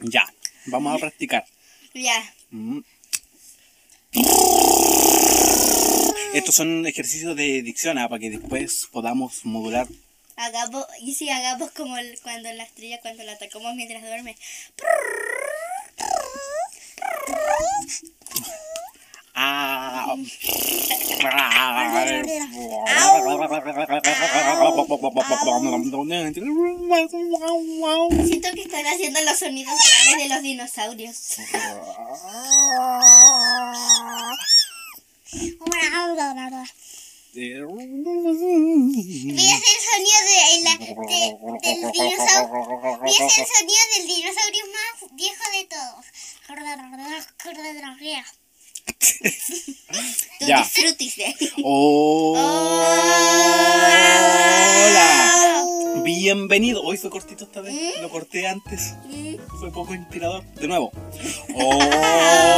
Ya, vamos a practicar. Ya. Mm. Estos son ejercicios de dicción, ah, para que después podamos modular. Hagamos, y si hagamos como el- cuando la estrella, cuando la atacamos mientras duerme. Ah. Siento que están haciendo los sonidos graves de los dinosaurios. ¿Ves el sonido de la- de- del dinosaurio? ¿Ves el sonido del dinosaurio más viejo de todos? Tú Ya. disfrutis de Hola. Bienvenido. Hoy fue cortito esta vez. Lo corté antes. Mm, Fue poco inspirador. De nuevo. Oh. Hola.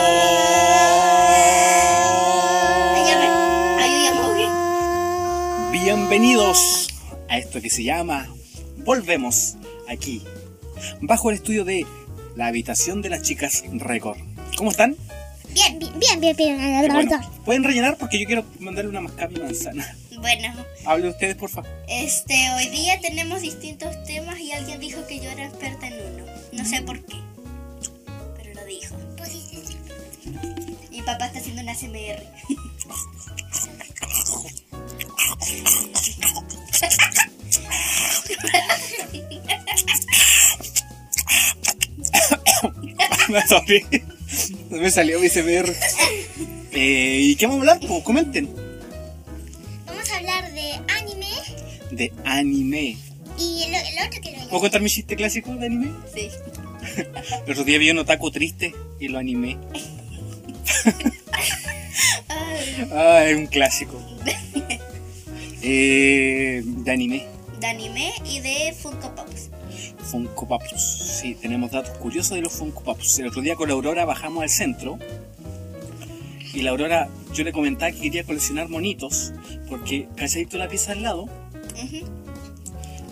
Ayúdame. Ayúdame, Bienvenidos a esto que se llama Volvemos aquí, bajo el estudio de la habitación de las chicas récord. ¿Cómo están? Bien, bien, bien, bien, bien. Qué bueno. Pueden rellenar porque yo quiero mandarle una mascada y manzana. Bueno, Hable ustedes, por favor. este, hoy día tenemos distintos temas y alguien dijo que yo era experta en uno. No sé por qué, pero lo dijo. Mi papá está haciendo una CMR. Me sorry. Me salió mi CBR. Eh, ¿Y qué vamos a hablar? Pues comenten. Vamos a hablar de anime De anime. y lo, el otro que lo ¿Puedo contar mi chiste clásico de anime? Sí. El otro día vi un otaku triste y lo animé. Ay, Ah, es un clásico. Eh, de anime. de anime y de Funko Pops. Funko Pops. Sí, tenemos datos curiosos de los Funko Pops. El otro día con la Aurora bajamos al centro y la Aurora, yo le comentaba que quería coleccionar monitos porque, cachadito la pieza al lado, Ujú.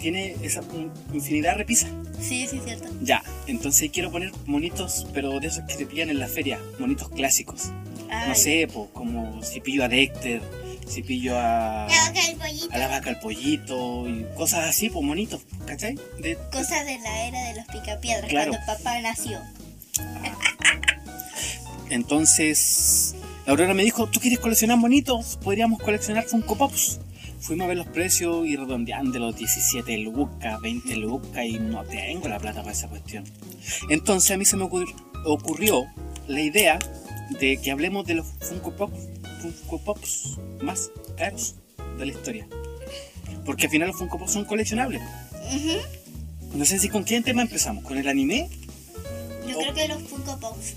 tiene esa un- infinidad de repisas. Sí, sí, cierto. Ya, entonces quiero poner monitos, pero de esos que te pillan en la feria, monitos clásicos. No Ay, sé, po, como si pillo a Dexter, si pillo a, La boca del pollito. a la vaca al pollito y cosas así, pues monitos, ¿cachai? De- Cosas de la era de los picapiedras, Claro. cuando papá nació. Entonces, la Aurora me dijo, ¿tú quieres coleccionar monitos? Podríamos coleccionar Funko Pops. Fuimos a ver los precios y redondean de los 17 lucas, 20 lucas y no tengo la plata para esa cuestión. Entonces a mí se me ocurri- ocurrió la idea de que hablemos de los Funko Pops, Funko Pops más caros de la historia. Porque al final los Funko Pops son coleccionables. Ujú. No sé si con qué tema empezamos, con el anime Yo Oh. creo que los Funko Pops.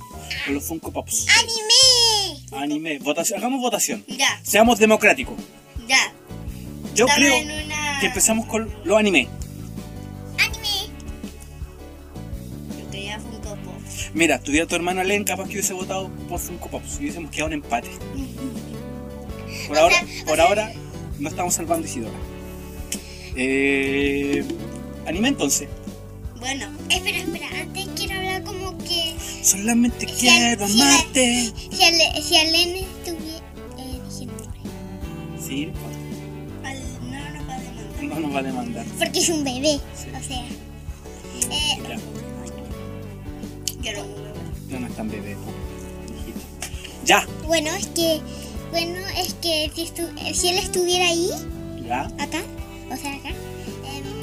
o los Funko Pops. ¡Anime! Anime, votación, hagamos votación. Ya, Seamos democráticos. ya. Yo Estamos creo en una... que empezamos con los anime. ¡Anime! Yo quería Funko Pops. Mira, tuviera tu hermana Len, capaz que hubiese votado por Funko Pops y hubiésemos quedado en empate. Por O ahora, sea, o por sea- ahora, no estamos salvando a Isidora. Eh, anime entonces. Bueno, Espera, espera, antes quiero hablar como que Solamente Si al- quiero si al- amarte. si Ale- si Alen estuviera... Eh, dije nombre. Sí, al- no nos va a demandar. no nos va a demandar. Porque es un bebé, Sí. o sea... Eh, Ya, Yo no me voy. ya no es tan bebé. hijito. Ya, Bueno, es que, bueno, es que si, estu- eh, si él estuviera ahí, ya. acá, o sea, acá,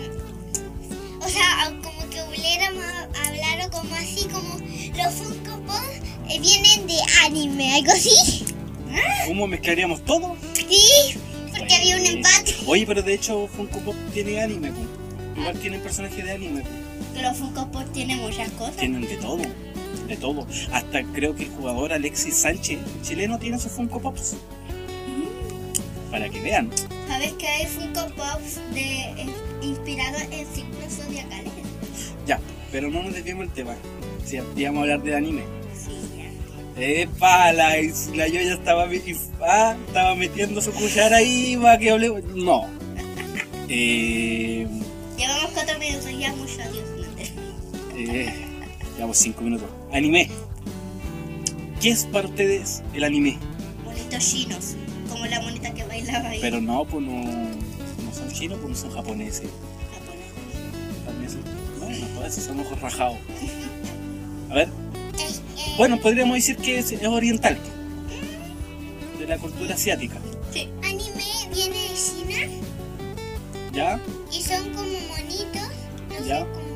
em, o sea, a- como que hubiéramos a- hablado como así, como los Funko Pops eh, vienen de anime, algo así. ¿Cómo mezclaríamos todo? Sí, porque había un Eh, empate. Oye, pero de hecho Funko Pop tiene anime. po. Igual tienen personajes de anime. po. Que los Funko Pops tienen muchas cosas. tienen de todo, de todo. Hasta creo que el jugador Alexis Sánchez, chileno, tiene sus Funko Pops. Mm. Para que vean. ¿Sabes que hay Funko Pops de, es- inspirados en signos zodiacales? Ya, pero no nos desviemos del tema. Si íbamos a hablar de anime. Sí, ya. Epa, la, la yo ya estaba, mi- ah, estaba metiendo su cuchara ahí, va que hable. No. Eh, Llevamos cuatro minutos ya, mucho adiós. no te- eh, Llevamos 5 minutos. Anime. ¿Qué es para ustedes el anime? Monitos chinos, como la monita que bailaba ahí. Pero no, pues no, no son chinos, pues no son japoneses. Japoneses. japonesa. Bueno, todos esos son ojos rajados. A ver. eh, Bueno, podríamos decir que es, es oriental. De la cultura asiática. Sí. Anime viene de China ¿Ya? y son como monitos. No Ya. sé cómo.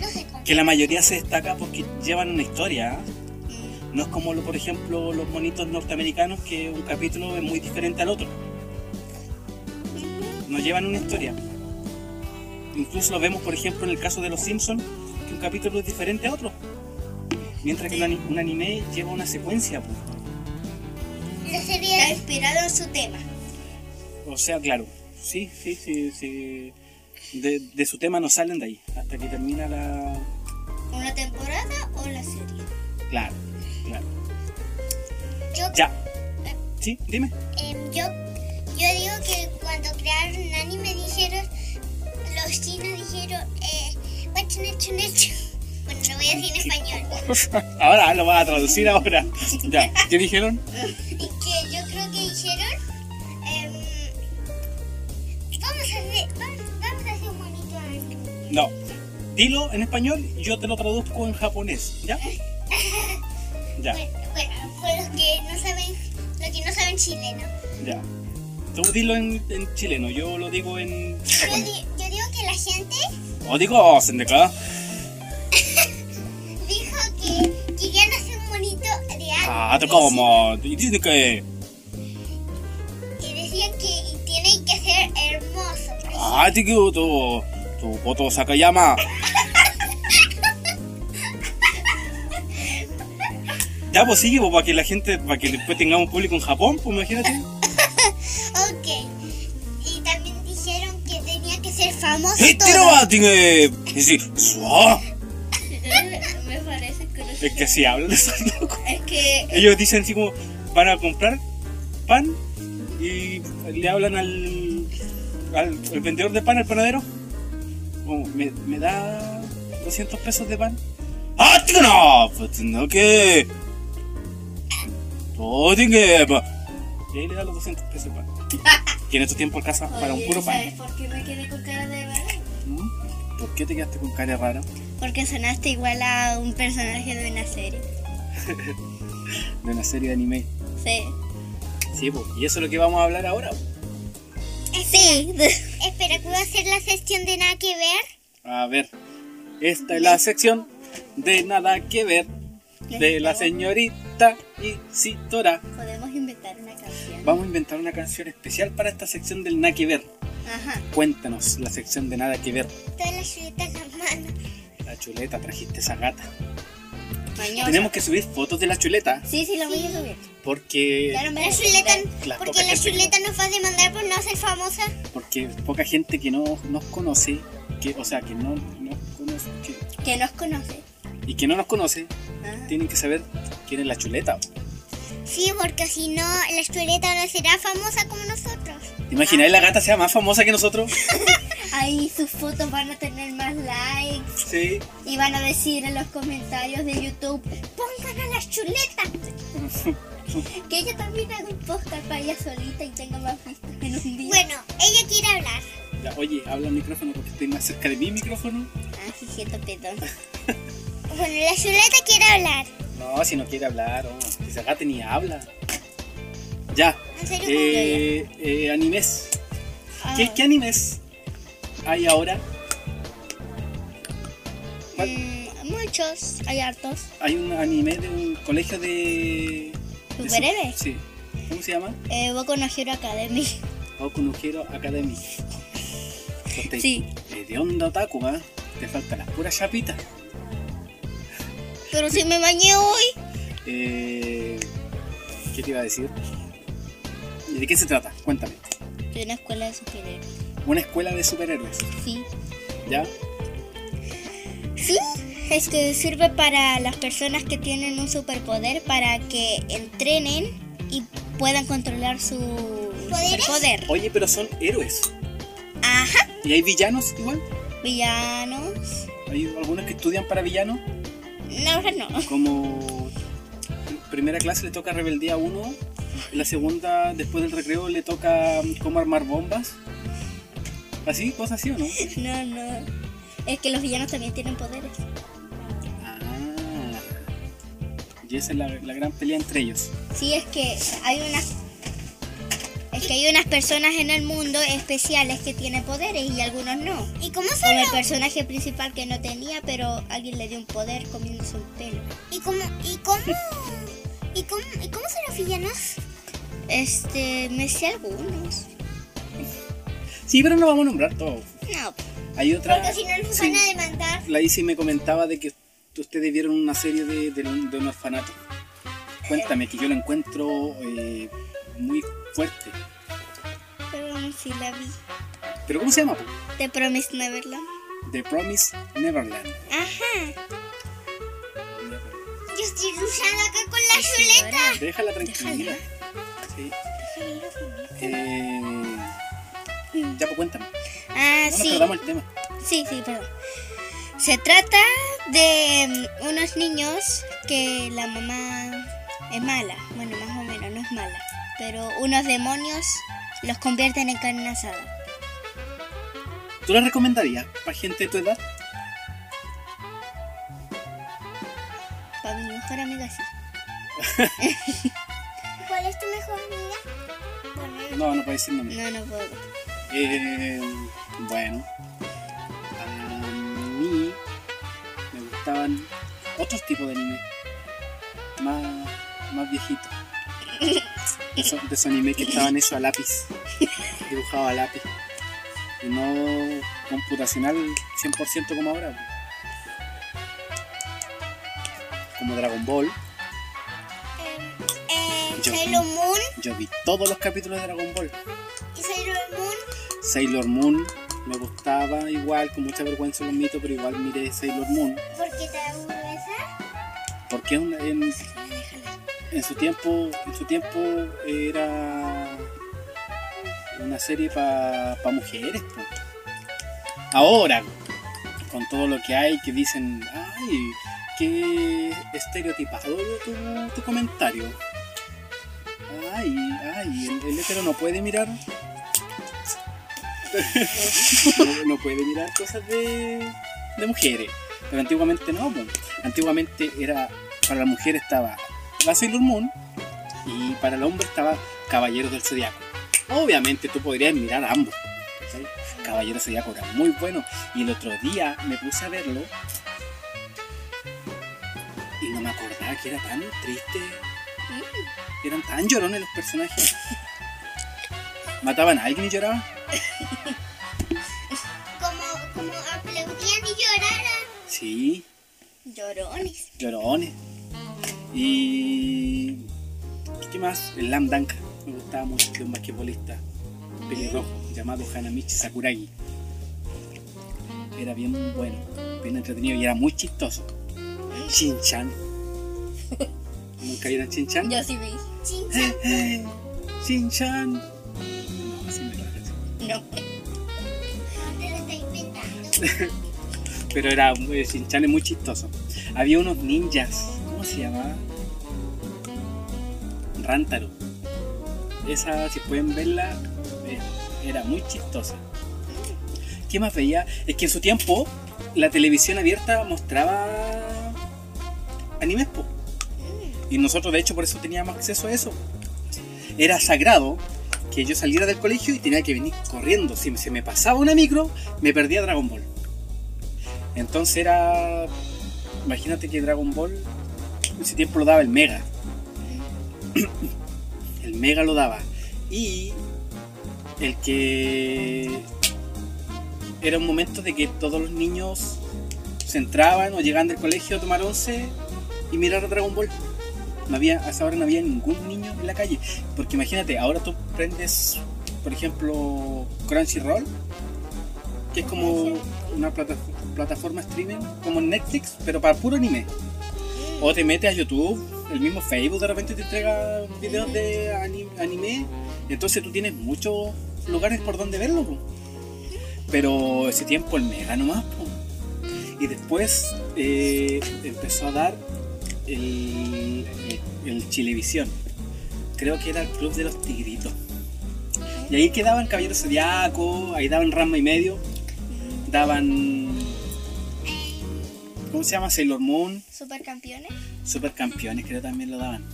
No sé cómo. Que la mayoría se destaca porque llevan una historia. ¿eh? Mm, No es como, lo, por ejemplo, los monitos norteamericanos que un capítulo es muy diferente al otro. No llevan una historia. Incluso lo vemos, por ejemplo, en el caso de Los Simpsons, que un capítulo es diferente a otro. Mientras que un, ani- un anime lleva una secuencia. pues. La Está serie inspirado en su tema. O sea, claro, sí, sí, sí, sí. De, de su tema no salen de ahí, hasta que termina la... ¿Una temporada o la serie? Claro, claro. yo, Ya. Sí, dime. em, yo, yo digo que cuando crearon anime dijeron, los chinos dijeron, eh, guachunachunachu. Bueno, lo voy a decir en español. Ahora lo vas a traducir ahora. Ya. ¿Qué dijeron? Y que yo creo que dijeron, em, vamos a hacer, vamos, vamos a hacer un bonito anime. No. Dilo en español y yo te lo traduzco en japonés. ¿Ya? Ya, Bueno, bueno, por los que no saben, los que no saben chileno. ya. Tú dilo en, en chileno, yo lo digo en Yo, japonés. di- yo digo que la gente O digo acá. dijo que querían hacer un bonito de anime. Ah, te como. Y dice que. Y decían que tienen que ser hermosos. Ah, te quiero tu. Tu foto Sakayama. Ya, pues sigue, pues, para que la gente, para que después tengamos público en Japón, pues imagínate. Ok. Y también dijeron que tenía que ser famoso. ¡Hetero todo. va! ah, Tiene. Es decir, ¡suah! Me parece que no sé. Es que así hablan esos locos. Es que Ellos dicen así como, van a comprar pan y le hablan al, al al vendedor de pan, al panadero. como, ¿me, me da 200 pesos de pan? ¡Ah, tío, no! Pues tengo que... Todo tiene que... pa-". pues". Y ahí le da los 200 pesos de pan. Que en estos tiempos alcanza para un Oye, puro pan. ¿Sabes por qué me quedé con cara de verdad? ¿Mm? ¿Por qué te quedaste con cara rara? Porque sonaste igual a un personaje de una serie. De una serie de anime. Sí. Sí, pues, y eso es lo que vamos a hablar ahora. Sí. Espera, ¿puedo hacer la sección de nada que ver? A ver, esta es la sección de nada que ver de la señorita Isitora. Podemos inventar una canción. Vamos a inventar una canción especial para esta sección del nada que ver. Ajá. Cuéntanos la sección de nada que ver. Todas las chuletas en la mano. La chuleta, trajiste esa gata. Mañana. Tenemos que subir fotos de la chuleta Sí, sí, lo voy a subir. porque, Claro, me La la chuleta, Las porque pocas la gente que- chuleta nos va a demandar por no ser famosa. porque poca gente que no nos conoce, que, o sea, que no, no conoce, que- Que nos conoce. y que no nos conoce, Ah. Ajá. tienen que saber quién es la chuleta. Sí, porque si no, la chuleta no será famosa como nosotros. ¿Te imagináis la gata sea más famosa que nosotros? Ahí sus fotos van a tener más likes Sí. y van a decir en los comentarios de YouTube, pongan a las chuletas. que yo también hago un podcast para ella solita y tenga más vistas en un día. Bueno, ella quiere hablar. Ya, oye, habla al micrófono porque estoy más cerca de mi micrófono. Ah, sí, siento perdón. Bueno, la chuleta quiere hablar. No, si no quiere hablar, oh, que se agate ni habla. Ya. Ah. ¿En serio? Eh, eh, animes. ¿Qué, qué animes hay ahora? ¿Cuál? Mm, muchos, hay hartos. Hay un anime de un colegio de... de ¿Superhéroes? Sí. ¿Cómo se llama? Eh, Boku no Hero Academy. Boku no Hero Academy. Ponte Sí. De onda otaku, ¿ah? Te faltan las puras chapitas. Pero si me bañé hoy. Eh, ¿Qué te iba a decir? ¿De qué se trata? Cuéntame. De una escuela de superhéroes. Una escuela de superhéroes, Sí. ¿ya? Sí, este sirve para las personas que tienen un superpoder para que entrenen y puedan controlar su ¿Poderes? superpoder. Oye, pero son héroes. Ajá, ¿Y hay villanos igual? villanos, hay algunos que estudian para villanos, No, ahora no. como en primera clase le toca rebeldía 1, en la segunda, después del recreo, le toca mm, cómo armar bombas. Así, cosas así o no? No, no. Es que los villanos también tienen poderes. Ah. Y esa es la, la gran pelea entre ellos. Sí, es que hay unas es que hay unas personas en el mundo especiales que tienen poderes y algunos no. ¿Y cómo son Como el los, personaje principal que no tenía, pero alguien le dio un poder comiéndose un pelo. y cómo, y cómo, y cómo, y cómo son los villanos? Este, me sé algunos. Sí, pero no vamos a nombrar todo. No, Hay otra. Porque si no nos Sí. van a demandar. La Isi me comentaba de que ustedes vieron una serie de, de, un- de un orfanato. Cuéntame, que yo la encuentro eh, muy fuerte. pero sí la vi. ¿Pero cómo se llama? po? ¿Te Promised Neverland? The Promise Neverland. Ajá. Yo estoy luchando acá con la chuleta. Ahora, Déjala tranquila. Sí. Eh, ya, pues cuéntame. Ah, No nos sí. perdamos el tema. Sí, sí, perdón. Se trata de mm, unos niños que la mamá es mala. Bueno, más o menos, no es mala. Pero unos demonios los convierten en carne asada. ¿Tú la recomendarías para gente de tu edad? Para mi mejor amiga, sí. ¿Cuál es tu mejor amiga? Bueno, No, no puede decir nombre. No, no puedo. Eh, bueno, a mí me gustaban otros tipos de anime, más, más viejitos. Eso- De esos anime que estaban hechos a lápiz, dibujado a lápiz. Y no computacional 100% como ahora. pues. Como Dragon Ball, eh, Yo. Sailor Moon yo vi todos los capítulos de Dragon Ball. y Sailor Moon. Sailor Moon me gustaba igual, con mucha vergüenza lo admito, pero igual miré Sailor Moon, ¿Por qué te aburres? porque en, en- en su tiempo, en su tiempo era una serie para mujeres. po. Ahora, con todo lo que hay, que dicen, ay, qué estereotipado tu, tu comentario. Ay, ay, el, el hétero no puede mirar. no, no puede mirar cosas de, de mujeres. Pero antiguamente no, po. antiguamente era, para la mujer estaba la Sailor Moon y para el hombre estaba Caballeros del Zodiaco. Obviamente tú podrías mirar a ambos. ¿cachai? Caballeros del Zodiaco era muy bueno. Y el otro día me puse a verlo y no me acordaba que era tan triste. Eran tan llorones los personajes. Mataban a alguien y lloraban. Como, como aplaudían y lloraran. Sí, Llorones. llorones. Y. ¿Qué más? El Lam Dunk. Me gustaba mucho de un basquetbolista pelirrojo llamado Hanamichi Sakuragi. Era bien bueno, bien entretenido y era muy chistoso. Shin-chan. ¿Nunca vieron Shin-chan? Yo sí vi. Chincha. ¡Eh, eh! ¡Shin-chan! No, sí me parece. No. ¿Dónde lo estoy inventando? Pero era eh, Shin-chan es muy chistoso. Había unos ninjas. ¿Cómo se llamaba? Rantaro. Esa, si pueden verla, eh, era muy chistosa. ¿Qué más veía? Es que en su tiempo la televisión abierta mostraba animes, po. Y nosotros, de hecho, por eso teníamos acceso a eso. Era sagrado que yo saliera del colegio y tenía que venir corriendo. Si se me pasaba una micro, me perdía Dragon Ball. Entonces era. Imagínate que Dragon Ball en ese tiempo lo daba el Mega. El Mega lo daba. Y el que. Era un momento de que todos los niños se entraban o llegaban del colegio a tomar once y mirar a Dragon Ball. No había, hasta ahora no había ningún niño en la calle. Porque imagínate, ahora tú prendes, por ejemplo, Crunchyroll, que es como una plata- plataforma streaming como Netflix, pero para puro anime. O te metes a YouTube, el mismo Facebook de repente te entrega videos de ani- anime. Entonces tú tienes muchos lugares por donde verlo. po. Pero ese tiempo el mega nomás. po. Y Y después eh, empezó a dar el, el, el Chilevisión. Creo que era el Club de los Tigritos. Y ahí quedaban Caballero Zodiaco, ahí daban Rama y Medio, daban. ¿Cómo se llama? Sailor Moon, Supercampeones. Supercampeones, creo también lo daban.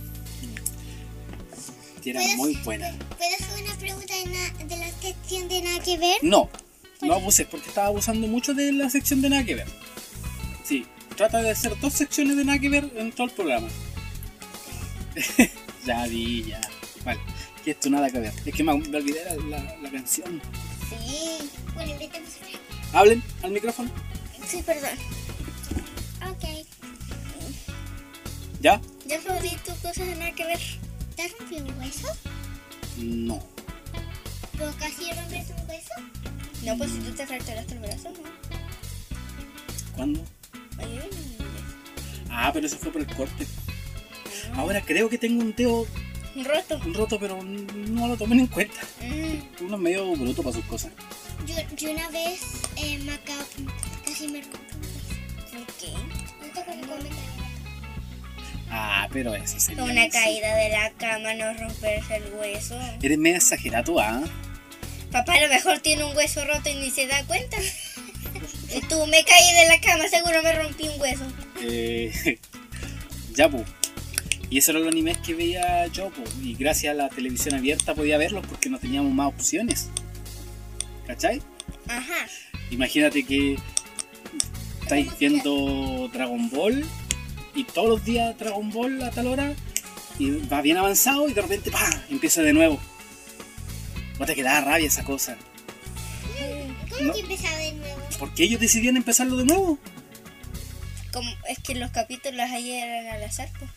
Y era ¿Puedo- muy buena. ¿Puedo hacer una pregunta de, na- de la sección de nada que ver? No, no abuses, porque estaba abusando mucho de la sección de nada que ver. Sí, trata de hacer dos secciones de nada que ver en todo el programa. ya vi, ya. Vale, que esto nada que ver. Es que me, me olvidé la, la- la canción. Sí. Bueno, inventemos una. Hablen al micrófono. Sí, perdón. Ok. ¿Ya? Yo rompí tus cosas de nada que ver. ¿Te has rompido un hueso? No. ¿Pero casi rompes un hueso? No, pues si tú te fracturaste el brazo, ¿no? ¿Cuándo? Ay, ay, ay. Ah, pero eso fue por el corte. Ahora creo que tengo un dedo Un roto. roto, pero no lo tomen en cuenta. Mm, Uno es medio bruto para sus cosas. Yo, yo una vez eh, me acabo, casi me rompí un hueso. ¿Por qué? No te acuerdas cómo me caí. Ah, pero eso sería. Una caída de la cama, no romperse el hueso. Eres medio exagerado, ¿ah? Papá a lo mejor tiene un hueso roto y ni se da cuenta. Y tú me caí de la cama, seguro me rompí un hueso. Eh, ya, pues. Y esos eran los animes que veía yo, po. Y gracias a la televisión abierta podía verlos porque no teníamos más opciones. ¿Cachai? Ajá. Imagínate que estáis viendo Dragon Ball y todos los días Dragon Ball a tal hora y va bien avanzado y de repente ¡pah! empieza de nuevo. Vos te quedaba rabia esa cosa. ¿Cómo No. que empezaba de nuevo? Porque ellos decidían empezarlo de nuevo. Como, es que los capítulos ayer eran al azar, pues.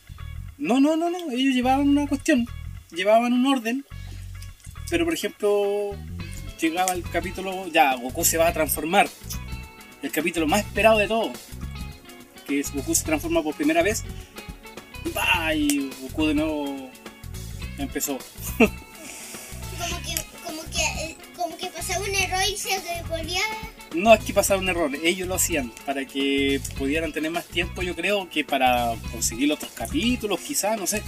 No, no, no, no. Ellos llevaban una cuestión. Llevaban un orden. Pero por ejemplo, llegaba el capítulo. Ya, Goku se va a transformar. El capítulo más esperado de todo. Que es Goku se transforma por primera vez. ¡Bah! Y Goku de nuevo empezó. Como que, como que, eh, como que pasaba un error y se volvía. No es que pasara un error, ellos lo hacían para que pudieran tener más tiempo, yo creo, que para conseguir otros capítulos, quizás, no sé.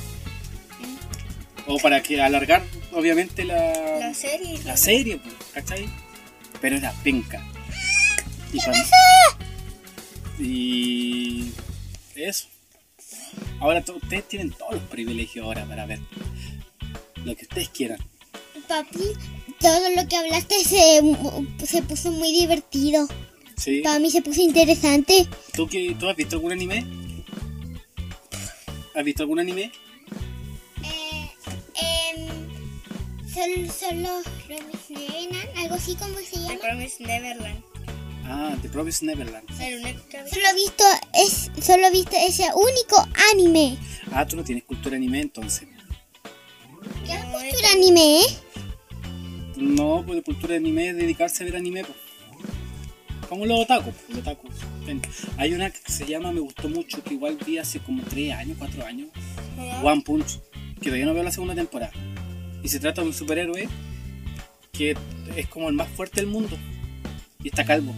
O para que alargar, obviamente, la, La serie. la serie, pues, ¿cachai? Pero era penca. Y cuando- Y eso. Ahora to- ustedes tienen todos los privilegios ahora para ver lo que ustedes quieran. Papi, todo lo que hablaste se, se puso muy divertido. ¿Sí? Para mí se puso interesante. ¿Tú, qué, ¿Tú has visto algún anime? ¿Has visto algún anime? Eh, em, son, son los Promis Neverland, algo así como se The llama. Promised Neverland. Ah, The Promised Neverland. El único que había. Solo he visto, es, solo he visto ese único anime. Ah, tú no tienes cultura anime entonces. ¿Qué has visto un anime, eh? No, pues de cultura de anime es dedicarse a ver anime. pues. Como los otaku, pues, los otaku. Ven, Hay una que se llama, me gustó mucho, que igual vi hace como 3 años, 4 años. One Punch, que todavía no veo la segunda temporada. Y se trata de un superhéroe que es como el más fuerte del mundo. Y está calvo.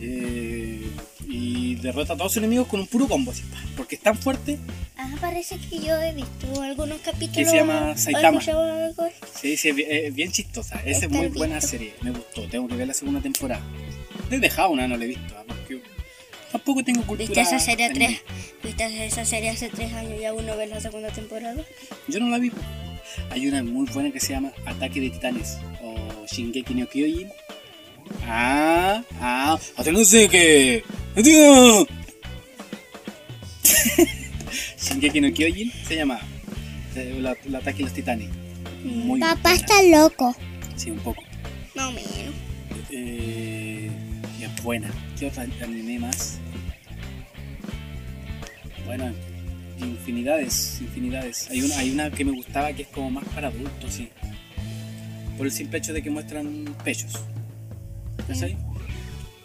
Eh, y derrota a todos sus enemigos con un puro combo. así, pa, porque es tan fuerte Ah, parece que yo he visto algunos capítulos. Que se llama o Saitama. escuchado algo. Sí, sí, es bi- es bien chistosa. Esa es Está muy bien. buena serie. Me gustó. Tengo que ver la segunda temporada. Le he dejado una, no la he visto. ah, Porque tampoco tengo cultura. ¿Viste esa serie, anime. tres, ¿Viste esa serie hace tres años y aún no ves la segunda temporada? Yo no la vi. Hay una muy buena que se llama Ataque de Titanes o Shingeki no Kyojin. Ah, ah, hasta no sé qué. ¡Adiós! Shingeki no Kyojin se llama eh, la- el Ataque de los Titanes. Muy Papá buena. está loco. Sí, un poco. Más o menos. Eh, y es buena. ¿Qué otra anime más? Bueno, infinidades, infinidades. Hay una, hay una que me gustaba que es como más para adultos, sí. Por el simple hecho de que muestran pechos. ¿Cachai?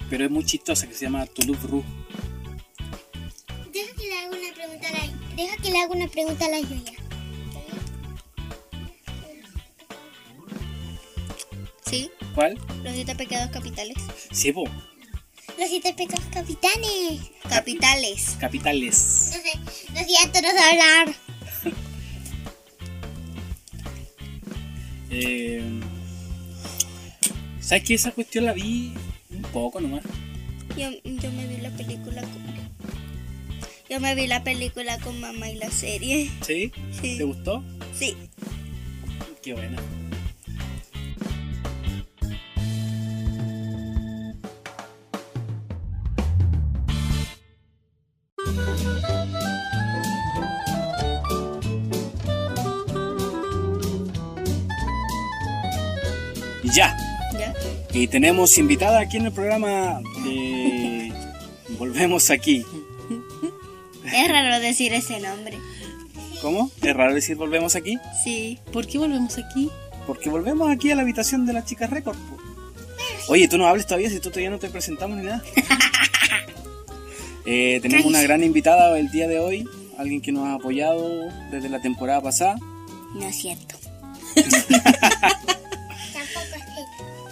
Pero es muy chistosa que se llama Toulouse Rouge. Deja que le haga una pregunta a la, deja que le haga una pregunta a la Yuya. Se Sí, ¿Cuál? los siete pecados capitales. Sí, po, Los siete pecados capitanes. Capitales. capitales. No sé, los diátonos de hablar. Eh, ¿Sabes que esa cuestión la vi un poco nomás? Yo, yo me vi la película con... Yo me vi la película con mamá y la serie. ¿Sí? Sí. ¿Te gustó? Sí. Qué buena. Ya, ¿Ya? y tenemos invitada aquí en el programa de Volvemos aquí. Es raro decir ese nombre. ¿Cómo? Es raro decir volvemos aquí, Sí. ¿Por qué volvemos aquí? porque volvemos aquí a la habitación de las chicas récord. po. Oye, tú no hables todavía si tú todavía no te presentamos ni nada. Eh, tenemos una gran invitada el día de hoy, alguien que nos ha apoyado desde la temporada pasada. No es cierto. Tampoco es que.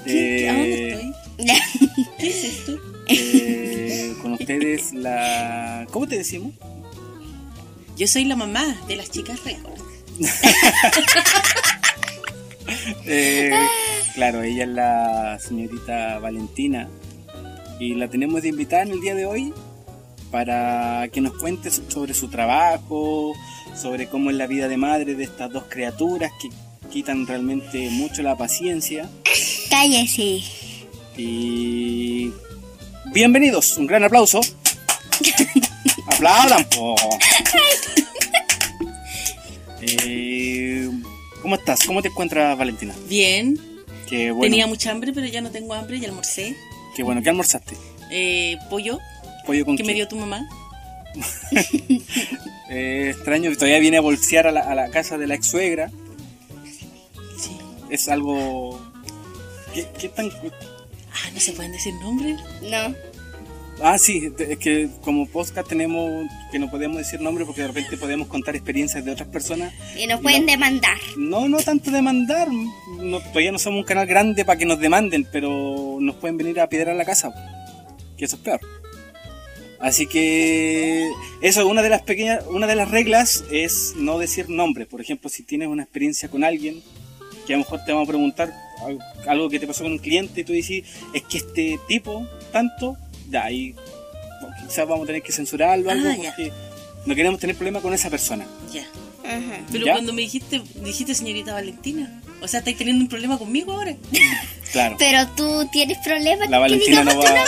¿Qué- qué- ¿A dónde Eh, estoy? ¿Qué es esto? eh, con ustedes la... ¿Cómo te decimos? Yo soy la mamá de las chicas récord. Eh, claro, ella es la señorita Valentina y la tenemos de invitada en el día de hoy para que nos cuente so- sobre su trabajo, sobre cómo es la vida de madre de estas dos criaturas que quitan realmente mucho la paciencia. Cállese. Y bienvenidos, un gran aplauso. Aplaudan, po. Eh, ¿Cómo estás? ¿Cómo te encuentras, Valentina? Bien, Qué bueno. tenía mucha hambre, pero ya no tengo hambre y almorcé. Qué bueno, ¿qué almorzaste? Eh, pollo Pollo con que me dio tu mamá. Eh, extraño que todavía viene a bolsear a la, a la casa de la ex suegra. Sí. Es algo. ¿Qué, qué tan.? Ah, no se pueden decir nombres. No. Ah, sí, te- es que como podcast tenemos que no podemos decir nombre porque de repente podemos contar experiencias de otras personas. Y nos pueden No. demandar. No, no tanto demandar. No, todavía no somos un canal grande para que nos demanden, pero nos pueden venir a piedrar la casa. Que eso es peor. Así que eso, una de las pequeñas, una de las reglas es no decir nombres. Por ejemplo, si tienes una experiencia con alguien, que a lo mejor te vamos a preguntar al- algo que te pasó con un cliente y tú dices, es que este tipo, tanto, ya ahí bueno, quizás vamos a tener que censurarlo o algo Ah, ya. porque no queremos tener problema con esa persona. Ya. Ajá. Pero ¿Ya? cuando me dijiste, dijiste señorita Valentina. O sea, estáis teniendo un problema conmigo ahora. Claro. Pero tú tienes problemas La con que Valentina digamos no va.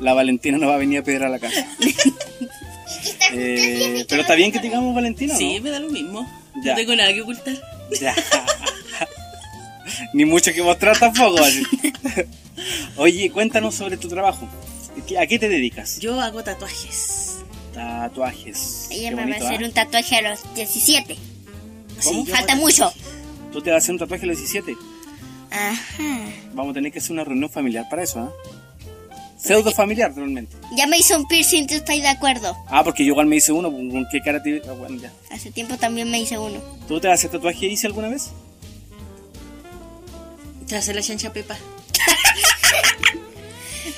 La Valentina no va a venir a pedir a la casa. Y que está Eh, justo así, así pero no está bien que me acuerdo. digamos Valentina, ¿o Sí, ¿no? me da lo mismo. Ya. No tengo nada que ocultar. Ya. Ni mucho que mostrar tampoco. así. Oye, cuéntanos sobre tu trabajo. ¿Qué- ¿A qué te dedicas? Yo hago tatuajes. Tatuajes. Ella Qué me va bonito, a hacer ¿ah? un tatuaje a los 17. ¿Cómo? yo Falta hago mucho. tatuajes. Tú te vas a hacer un tatuaje a los 17. Ajá. Vamos a tener que hacer una reunión familiar para eso, ¿ah? Pseudo familiar, realmente. Ya me hizo un piercing, tú estás de acuerdo. Ah, porque yo igual me hice uno. ¿Con qué cara te.? ah, bueno, ya. Hace tiempo también me hice uno. ¿Tú te vas a hacer tatuaje hice alguna vez? Te hace la chancha pepa.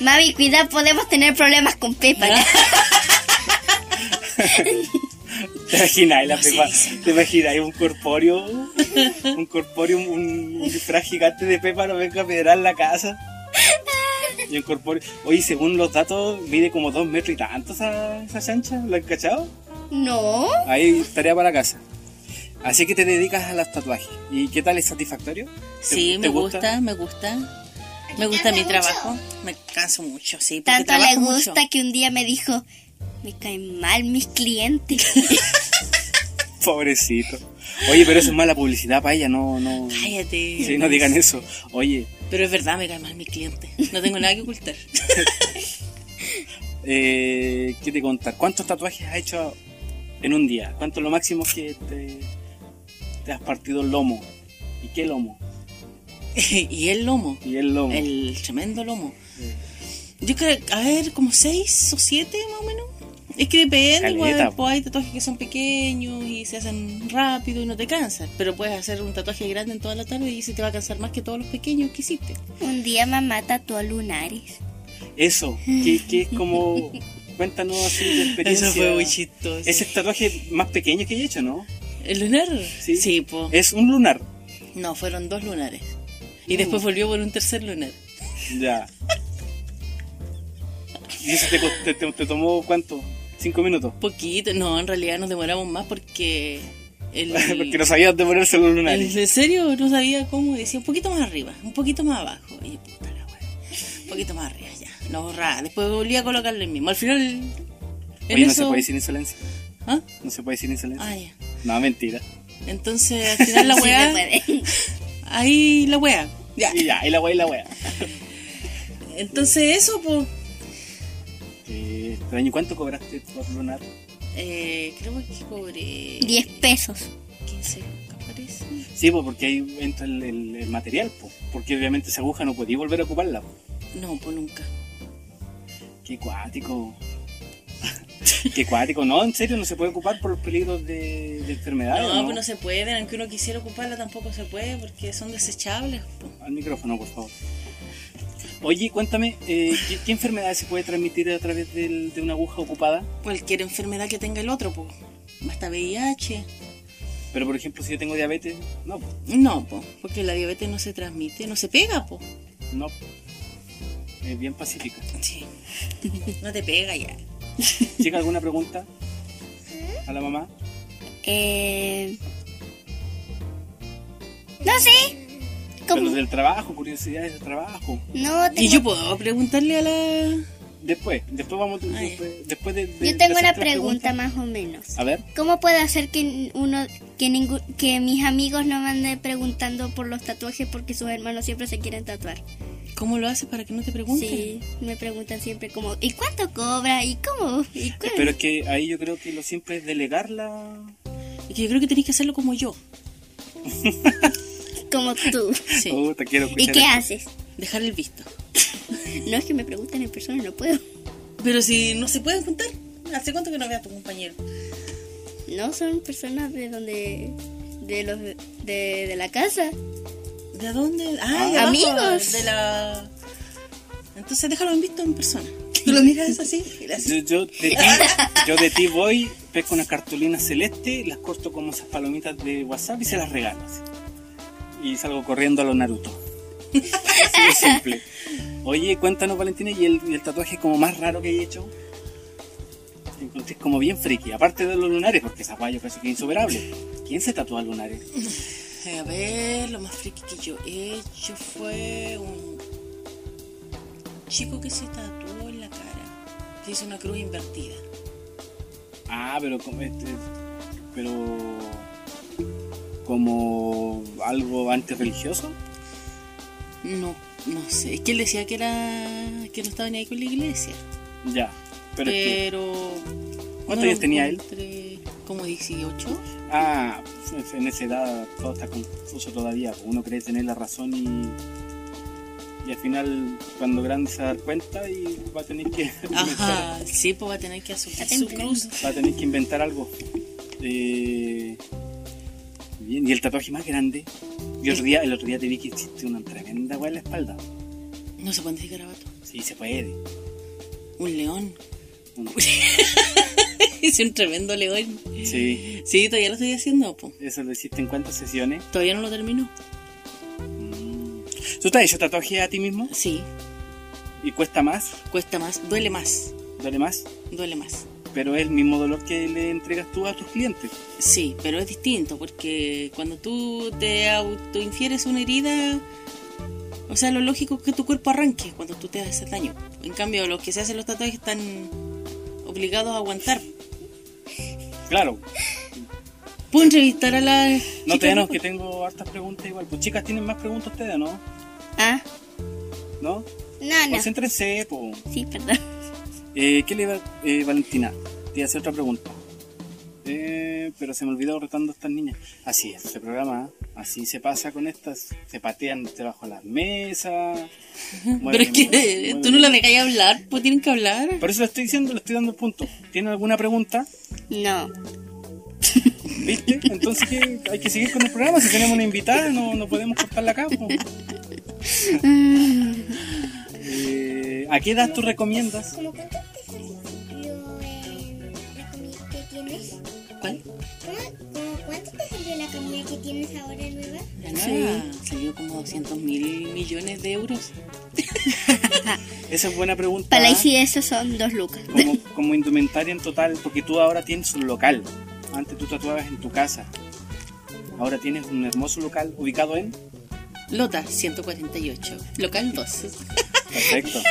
Mavi, cuidado, podemos tener problemas con Pepa. ¿Te imaginas la No sé, Pepa? sí. ¿Te imaginas un corpóreo? Un corpóreo, un, un disfraz gigante de Pepa no venga a pedrar la casa. Y un corpóreo. Oye, según los datos, mide como dos metros y tanto esa, esa chancha. ¿La han cachado? No. Ahí tarea para la casa. Así que te dedicas a los tatuajes. ¿Y qué tal? ¿Es satisfactorio? ¿Te- Sí, te me gusta, me gusta. Me gusta cansa mi mucho? trabajo. Me canso mucho, sí. porque Tanto le trabajo gusta mucho. que un día me dijo, me caen mal mis clientes. Pobrecito. Oye, pero eso es mala publicidad para ella, no, no. Cállate. Sí, no digan eso. Oye, Pero es verdad, me cae mal mi cliente. No tengo nada que ocultar. Eh, ¿Qué te contar? ¿Cuántos tatuajes has hecho en un día? ¿Cuánto es lo máximo que te, te has partido el lomo? ¿Y qué lomo? y el lomo. ¿Y el lomo? El tremendo lomo. Yo creo, a ver, como seis o siete más o menos. Es que depende, igual, Caleta, po. pues hay tatuajes que son pequeños y se hacen rápido y no te cansan. Pero puedes hacer un tatuaje grande en toda la tarde y se te va a cansar más que todos los pequeños que hiciste. Un día mamá tatuó lunares. Eso, que, que es como. Cuéntanos así tu experiencia. Eso fue muy chistoso. Es el tatuaje más pequeño que he hecho, ¿no? ¿El lunar? Sí. Sí, pues. Es un lunar. No, fueron dos lunares. Y después volvió por un tercer lunar. Ya. ¿Y eso te, co- te- te- te tomó cuánto? ¿Cinco minutos? Poquito, no, en realidad nos demoramos más porque. El, Porque no sabías devolverse los lunares. el- en serio, no sabía cómo. Decía un poquito más arriba, un poquito más abajo. Y puta la wea. Un poquito más arriba, ya. Lo borraba. Después volví a colocarle el mismo. Al final. en Oye, no eso- se puede decir insolencia. ¿Ah? No se puede decir insolencia. Ah, ya. No, mentira. Entonces, al final la Sí, weá. me puede. ahí la weá. Ya. Y ya, ahí la wea, y la wea. Entonces, eso, pues. Eh, extraño, ¿cuánto cobraste por lunar? Eh, creo que cobré. 10 pesos. 15 lucas, parece. Sí, pues porque ahí entra el, el- el material, pues. Porque obviamente esa aguja no podía volver a ocuparla. po. No, pues nunca. Qué cuático. Qué cuático. No, en serio, no se puede ocupar por los peligros de, de enfermedades. No, ¿no? pues no se pueden, aunque uno quisiera ocuparla tampoco se puede porque son desechables. po. Al micrófono, por favor. Oye, cuéntame, eh, ¿qué, qué enfermedad se puede transmitir a través del- de una aguja ocupada? Cualquier enfermedad que tenga el otro, pues. Basta VIH. Pero, por ejemplo, si yo tengo diabetes, no, pues, po, No, po, porque la diabetes no se transmite, no se pega, po. no. Es bien pacífica. Sí. No te pega ya. Chica, ¿alguna pregunta a la mamá? Eh, No sé. Pero del trabajo, curiosidades del trabajo. No, Y tengo- yo puedo preguntarle a la. Después, después vamos, Ah, ya. después, después de, de- yo de tengo hacer una tres preguntas. pregunta más o menos. A ver, ¿Cómo puedo hacer que uno que ningú- que mis amigos no me anden preguntando por los tatuajes porque sus hermanos siempre se quieren tatuar? ¿Cómo lo haces para que no te pregunten? Sí, me preguntan siempre como ¿y cuánto cobra? ¿Y cómo? ¿Y cuál? pero es que ahí yo creo que lo simple es delegar la... Es que yo creo que tenés que hacerlo como yo. Como tú. Sí. Oh, te quiero ¿Y escuchar. qué haces? Dejar el visto. No es que me pregunten en persona, no puedo. Pero si no se pueden juntar, ¿hace cuánto que no veas a tu compañero? No son personas de donde de los de, de la casa. ¿De dónde? Ah, de Ah, abajo, amigos. De la... Entonces déjalo en visto en persona. Tú lo miras así y le haces- Yo, yo de ti, yo de ti voy, pesco una cartulina celeste, las corto como esas palomitas de WhatsApp y se las regalo. así. Y salgo corriendo a los Naruto. Así de simple. Oye, cuéntanos, Valentina, ¿y el, y el tatuaje como más raro que he hecho? Que Encontré como bien friki, aparte de los lunares, porque esa guayo casi que es insuperable. ¿Quién se tatúa lunares? Eh, A ver, lo más friki que yo he hecho fue un chico que se tatuó en la cara. Le hizo una cruz invertida. Ah, pero como este, pero como algo antes religioso. No, no sé. Es que él decía que era que no estaba ni ahí con la iglesia. Ya. Pero Pero... es que- no lo años tenía él? encontré Como 18. Ah, pues, en esa edad todo está confuso todavía. pues, Uno cree tener la razón y, y al final, cuando grande se va a dar cuenta y va a tener que, inventar, Ajá, sí, pues va a tener que asumir Está su temblando. cruz. va a tener que inventar algo. Eh, bien, y el tatuaje más grande. Y otro día, el otro día te vi que hiciste una tremenda hueá en la espalda. No se puede decir garabato. Sí, se puede. Un león. Un- es un tremendo león. Sí, Sí, todavía lo estoy haciendo, po. eso lo hiciste en cuántas sesiones. Todavía no lo termino. Mm. ¿Tú te has hecho tatuaje a ti mismo? Sí, ¿Y cuesta más? cuesta más, duele más, ¿Duele más? duele más. Pero es el mismo dolor que le entregas tú a tus clientes. Sí, pero es distinto porque cuando tú te autoinfieres una herida, o sea, lo lógico es que tu cuerpo arranque cuando tú te haces daño. En cambio, los que se hacen los tatuajes están obligados a aguantar. Claro, Puedo entrevistar a la. no te chica? que tengo hartas preguntas igual. Pues chicas, tienen más preguntas ustedes, ¿no? Ah, ¿No? Ah, no, no. Concéntrense, po. Sí, perdón. Eh, ¿Qué le va, eh, Valentina? Te voy a hacer otra pregunta. Eh, Ay, pero se me olvidó retando a estas niñas. Así es, se programa, ¿eh? así se pasa con estas, se patean debajo de las mesas. Pero es mueven- que eh, mueven- tú no la dejáis hablar, pues tienen que hablar. Por eso le estoy diciendo, le estoy dando el punto. ¿Tiene alguna pregunta? No. ¿Viste? Entonces ¿qué? hay que seguir con el programa. Si tenemos una invitada, no, no podemos cortarla acá. po. Eh, ¿A qué edad tú recomiendas? ¿Cómo cuánto te salió eh, la comida que tienes? ¿Cuál? ¿Cómo, como cuánto te salió la comida que tienes ahora nueva? La nueva salió como 200 mil millones de euros. Esa es buena pregunta. Para Ah. la ICI eso son dos lucas. como, como indumentaria en total, porque tú ahora tienes un local. Antes tú tatuabas en tu casa. Ahora tienes un hermoso local ubicado en. Lota 148, local 2, Perfecto.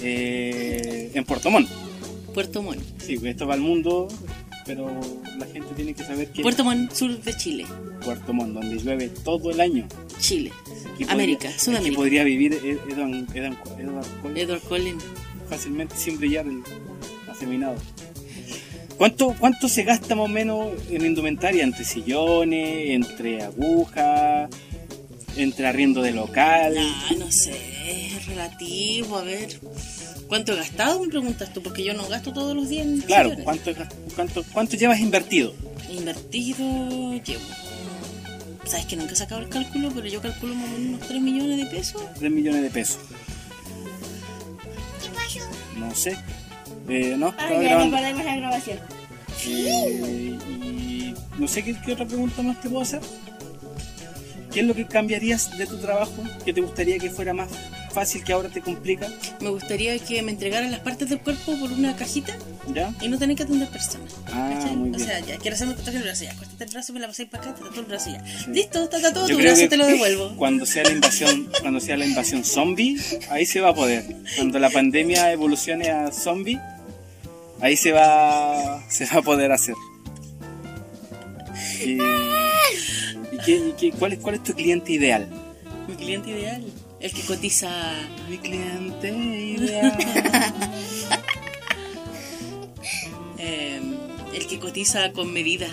Eh, en Puerto Montt. Puerto Montt. Sí, pues esto va al mundo, pero la gente tiene que saber que Puerto Montt, sur de Chile. Puerto Montt, donde llueve todo el año. Chile. Aquí América, podría- Aquí Sudamérica. podría vivir Ed- Edan, Edan, Edward Cullen Edward Collins. fácilmente sin brillar el afeminado. ¿Cuánto, ¿Cuánto se gasta más o menos en indumentaria? Entre sillones, entre agujas, entre arriendo de local. Ah, no sé, es relativo, a ver. ¿Cuánto he gastado? Me preguntas tú, porque yo no gasto todos los días en Claro, sillones. ¿cuánto, gas- cuánto, ¿cuánto llevas invertido? Invertido llevo. Sabes que nunca he sacado el cálculo, pero yo calculo más o menos unos 3 millones de pesos. 3 millones de pesos. ¿Qué pasó? No sé. Eh, no, estaba Ahora grabando. perdemos la grabación. Eh, y no sé qué, qué otra pregunta más te puedo hacer. ¿Qué es lo que cambiarías de tu trabajo que te gustaría que fuera más fácil que ahora te complica? Me gustaría que me entregaran las partes del cuerpo por una cajita ¿Ya? y no tener que atender personas. Ah, ¿cachai? muy O bien. sea, ya quiero hacerme un tatuaje en el brazo, ya. Córtate el brazo, me la pasáis para acá, te tatúo el brazo ya. Sí. Listo, te tatúo Yo tu creo brazo, que te lo devuelvo. Cuando sea la invasión, cuando sea la invasión zombie, ahí se va a poder. Cuando la pandemia evolucione a zombie, ahí se va se va a poder hacer. ¿Y, y qué- y qué- cuál, es, cuál es tu cliente ideal? Mi cliente ideal, el que cotiza Mi cliente ideal. Eh, el que cotiza con medida,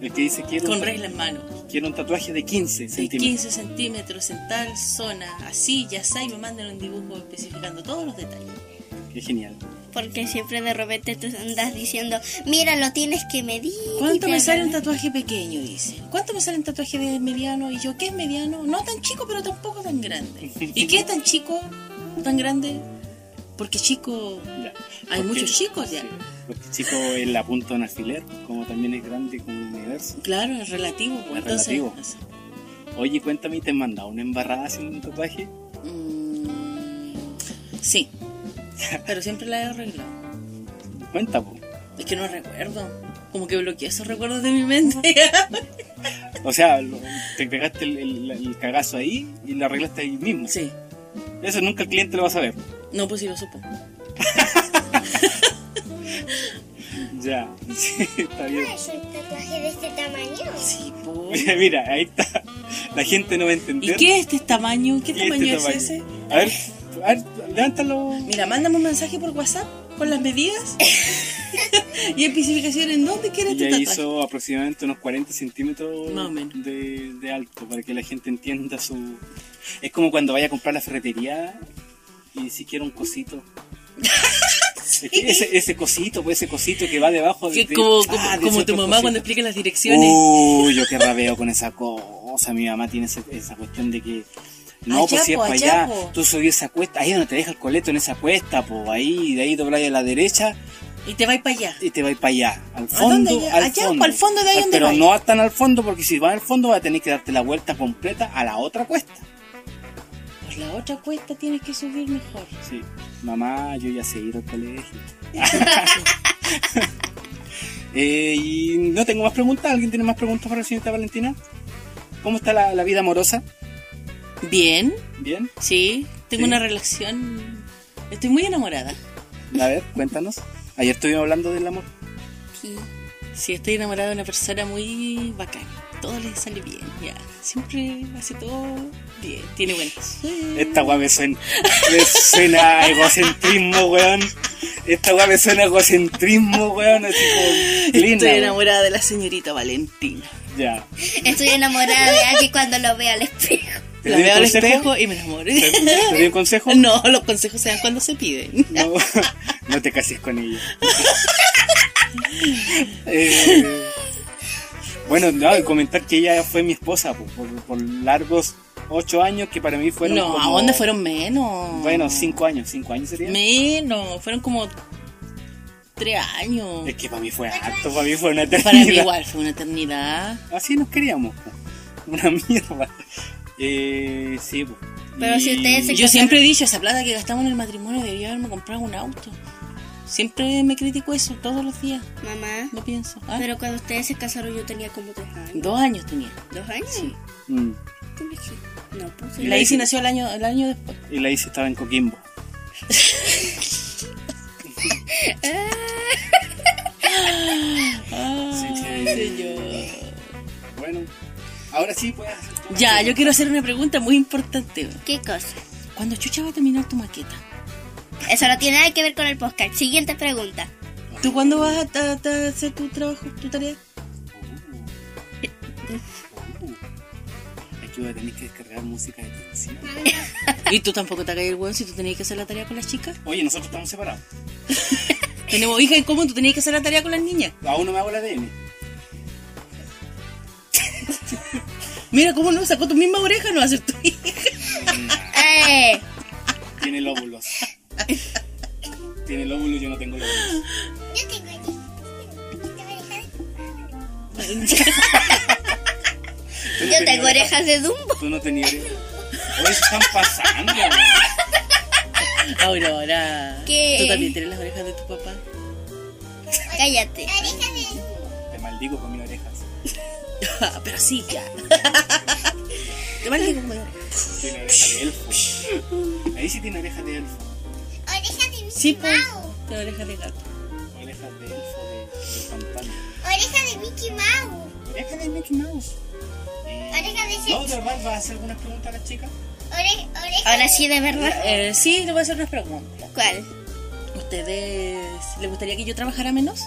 El que dice quiero, con un- regla en mano. quiero un tatuaje de 15 De centímetros. 15 centímetros en tal zona, así, ya está, y me mandan un dibujo especificando todos los detalles. Qué genial. Porque siempre de repente tú andas diciendo, mira, lo tienes que medir. ¿Cuánto y me bla, sale bla, un bla". tatuaje pequeño? Dice. ¿Cuánto me sale un tatuaje de mediano? Y yo, ¿qué es mediano? No tan chico, pero tampoco tan grande. ¿Y qué es tan chico, tan grande? Porque chico, Ya. Hay muchos chicos ya. sí, porque chico es la punta de un alfiler, como también es grande como el universo. claro, es relativo. pues, Es entonces, relativo. Oye, cuéntame, ¿te han mandado una embarrada haciendo un tatuaje? mm, sí, pero siempre la he arreglado. Cuenta, po. Es que no recuerdo. Como que bloqueé esos recuerdos de mi mente. O sea, lo- te pegaste el, el- el cagazo ahí y lo arreglaste ahí mismo. sí. Eso nunca el cliente lo va a saber. No, pues sí lo supo. Ya, sí, está bien. Ah, Es un tatuaje de este tamaño. Sí, po. Mira, mira, ahí está. La gente no va a entender. ¿Y qué es este tamaño? ¿Qué ¿Y este tamaño es tamaño? ese? A ver, a ver, levántalo. Mira, mándame un mensaje por WhatsApp con las medidas y especificación en dónde quieres tu Ella tatuaje. hizo aproximadamente unos 40 centímetros Más o menos. de, de alto para que la gente entienda su. Es como cuando vaya a comprar la ferretería y si quiero un cosito. Es que ese, ese cosito, pues ese cosito que va debajo de. Que de- como, como- ah, de como ese tu otro mamá cosito. cuando explica las direcciones. Uy, yo qué rabeo con esa cosa. Mi mamá tiene ese- esa cuestión de que. No, Allá, pues si es po, para allá, allá, po. tú subís esa cuesta, ahí donde te deja el coleto en esa cuesta, pues ahí, de ahí dobláis a la derecha Y te vais para allá. y te vais para allá, al ¿A fondo, dónde? al Allá, fondo. al fondo de ahí Ah, donde Pero vais. no tan al fondo porque si vas al fondo vas a tener que darte la vuelta completa a la otra cuesta. Por la otra cuesta tienes que subir mejor. Sí. Mamá, yo ya sé ir al colegio. Eh, y no tengo más preguntas. ¿Alguien tiene más preguntas para la señorita Valentina? ¿Cómo está la, la vida amorosa? Bien, ¿Bien? sí. Tengo Sí. una relación. Estoy muy enamorada. A ver, cuéntanos. Ayer estuvimos hablando del amor. Sí. Sí, estoy enamorada de una persona muy bacana. Todo le sale bien, ya. Siempre hace todo bien. Tiene buenas. Esta weá me suena, me suena a egocentrismo, weón. Esta weá me suena a egocentrismo, weón. Así como. Estoy Lina, enamorada de la señorita Valentina. weón. Ya. Estoy enamorada de alguien cuando lo veo al espejo. ¿Te La doy un veo al consejo? espejo y me enamoro. ¿Te, te doy un consejo? No, los consejos se dan cuando se piden. No, no te cases con ella. Eh, bueno, no, y comentar que ella fue mi esposa po, por, por largos ocho años que para mí fueron. no, ¿a como- dónde fueron menos? Bueno, cinco años, cinco años sería. Menos, fueron como tres años. Es que para mí fue harto, para mí fue una eternidad. Para mí igual fue una eternidad. Así nos queríamos, po. una mierda. Eh, sí, po. Pero si ustedes se- Yo siempre he dicho, esa plata que gastamos en el matrimonio debía haberme comprado un auto. Siempre me critico eso, todos los días, Mamá, lo pienso. Ah, pero cuando ustedes se casaron yo tenía como tres años. Dos años tenía. ¿Dos años? Mm. ¿Tú me dijiste? No, pues Y Y la la Isi Isi- nació el año, el año después. Y la hice estaba en Coquimbo. Ay, Ah, Ah. señor. Bueno, ahora sí pues. puedes hacer todo. Ya, yo quiero hacer una pregunta muy importante. ¿Qué cosa? ¿Cuándo Chucha va a terminar tu maqueta? Eso no tiene nada que ver con el podcast. Siguiente pregunta. ¿Tú cuándo vas a, ta- ta- hacer tu trabajo, tu tarea? Aquí voy a tener Uh, que descargar música de tensión. Y tú tampoco te caes el hueón si tú tenías que hacer la tarea con las chicas. Oye, nosotros estamos separados. Tenemos hija en común, tú tenías que hacer la tarea con las niñas. Aún no me hago la DM. Mira cómo no sacó tu misma oreja, no va a ser tu hija. ¡Eh! Tiene lóbulos. Tiene lóbulos, yo no tengo lóbulos. Yo tengo aquí. Tú no Yo tenías tengo orejas de Dumbo. Tú no tenías orejas. Oye, se están pasando. weón. Aurora. ¿Qué? ¿Tú también tienes las orejas de tu papá? Cállate. La oreja de Te maldigo con mis orejas. Ah, Pero sí, ya. Te vale como oreja. Tiene oreja de elfo. Ahí sí tiene oreja de elfo. Oreja de Mickey Sí, pues. Mouse. Te oreja de gato. Oreja de elfo de, de pantano. Oreja de Mickey Mouse. Oreja de Mickey Mouse. Eh, Oreja de ¿No, Jesús. de verdad, vas a hacer algunas preguntas a las chicas? Ore- oreja Ahora sí, de verdad. Eh, sí, le voy a hacer unas preguntas. ¿Cuál? ¿Ustedes les gustaría que yo trabajara menos?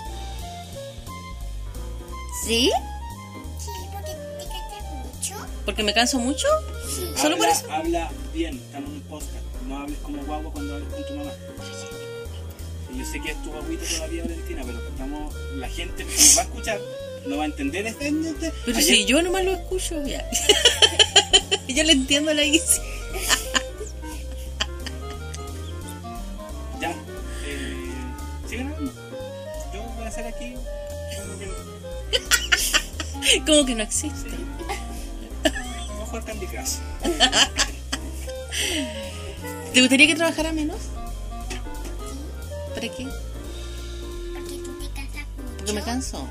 ¿Sí? Sí, porque te cantas mucho. ¿Porque me canso mucho? ¿Solo por habla, eso? Habla bien, estamos en un podcast. No hables como guagua cuando hables con tu mamá. Y Yo sé que es tu guaguita todavía, Valentina, pero estamos, la gente que nos va a escuchar no va a entender este. Pero Ayer- si yo nomás lo escucho, ya. yo le entiendo a la Isi. Ya. Eh, Sigan hablando. Yo voy a hacer aquí. Como que no existe. Voy a jugar Candy Crush. ¿Te gustaría que trabajara menos? ¿Para qué? Porque tú te cantas mucho. Porque me canso.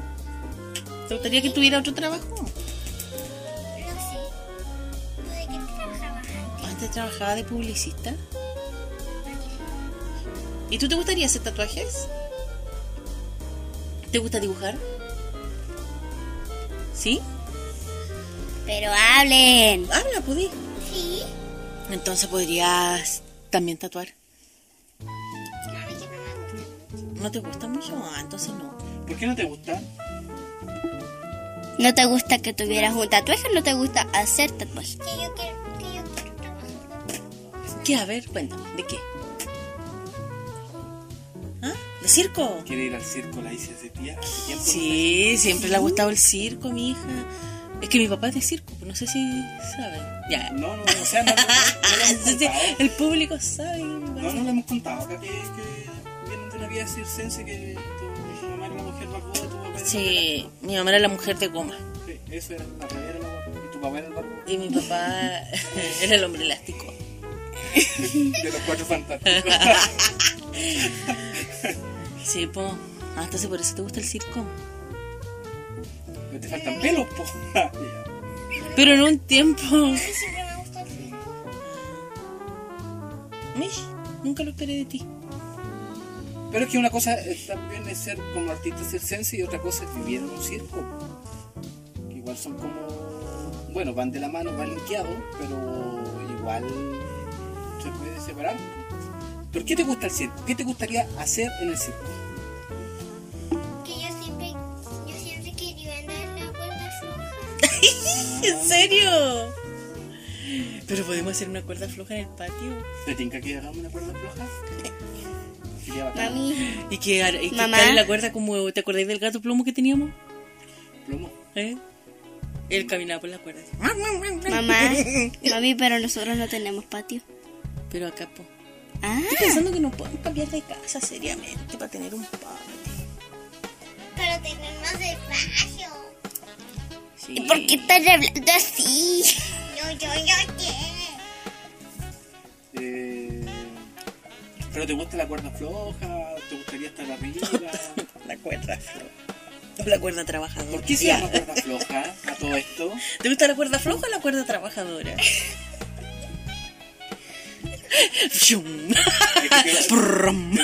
¿Te gustaría que tuviera otro trabajo? No sé. ¿Tú de qué trabajabas antes? Antes trabajaba de publicista. ¿Y tú te gustaría hacer tatuajes? ¿Te gusta dibujar? ¿Sí? Pero hablen. Habla, pues, pudí. Sí. Entonces podrías también tatuar. A mí que no me gusta. ¿No te gusta mucho? Ah, entonces no. ¿Por qué no te gusta? ¿No te gusta que tuvieras un tatuaje o no te gusta hacer tatuaje? Que yo quiero, que yo quiero trabajar. ¿Qué? A ver, cuéntame. ¿De qué? ¿Ah? ¿De circo? Quiere ir al circo, la hice hace tía. Hace tiempo. Sí, siempre le ha gustado el circo, mi hija. Es que mi papá es de circo, pues no sé si saben. Ya. No, no, o sea, no, no, no lo hemos Sí, sí, contado. el público sabe. que mi papá No, es- no le hemos contado acá que, que vienen de una vida circense que tu mamá era la mujer barbuda, tu papá era el Sí, mi mamá era la mujer de goma barbudo. Sí, Eso era, la revés era la barbuda y tu papá era el barbudo. y mi papá era el hombre elástico. De los cuatro fantásticos. Sí, po. Ah, entonces por eso te gusta el circo. No te faltan pelos, po. Ya. Pero en un tiempo. Y siempre me gusta el fútbol. Mish, nunca lo esperé de ti. Pero es que una cosa es, también es ser como artista circense y otra cosa es vivir en un circo. Que igual son como. Bueno, van de la mano, van linkeados, pero igual se puede separar. ¿Pero qué te gusta el circo? ¿Qué te gustaría hacer en el circo? Que yo siempre, yo siempre quería andar en la cuerda floja. ¿En serio? Pero podemos hacer una cuerda floja en el patio. ¿Te tinca que hagamos una cuerda floja? Sería bacán. Mami, Y que, ar- y que Mamá. cale la cuerda como. ¿Te acordáis del gato plomo que teníamos? Plomo. ¿Eh? Él caminaba por la cuerda. mamá, mami, pero nosotros no tenemos patio. Pero acá, po. Ah, Estoy pensando que no podemos cambiar de casa seriamente para tener un patio. Pero tenemos espacio. Sí. ¿y por qué estás hablando así? No, yo, yo, quiero. Eh, ¿Pero te gusta la cuerda floja? ¿Te gustaría estar arriba? La cuerda floja. No, la cuerda trabajadora. ¿Por qué se llama cuerda floja a todo esto? ¿Te gusta la cuerda floja o la cuerda trabajadora? Shum. Es que- Prrrum.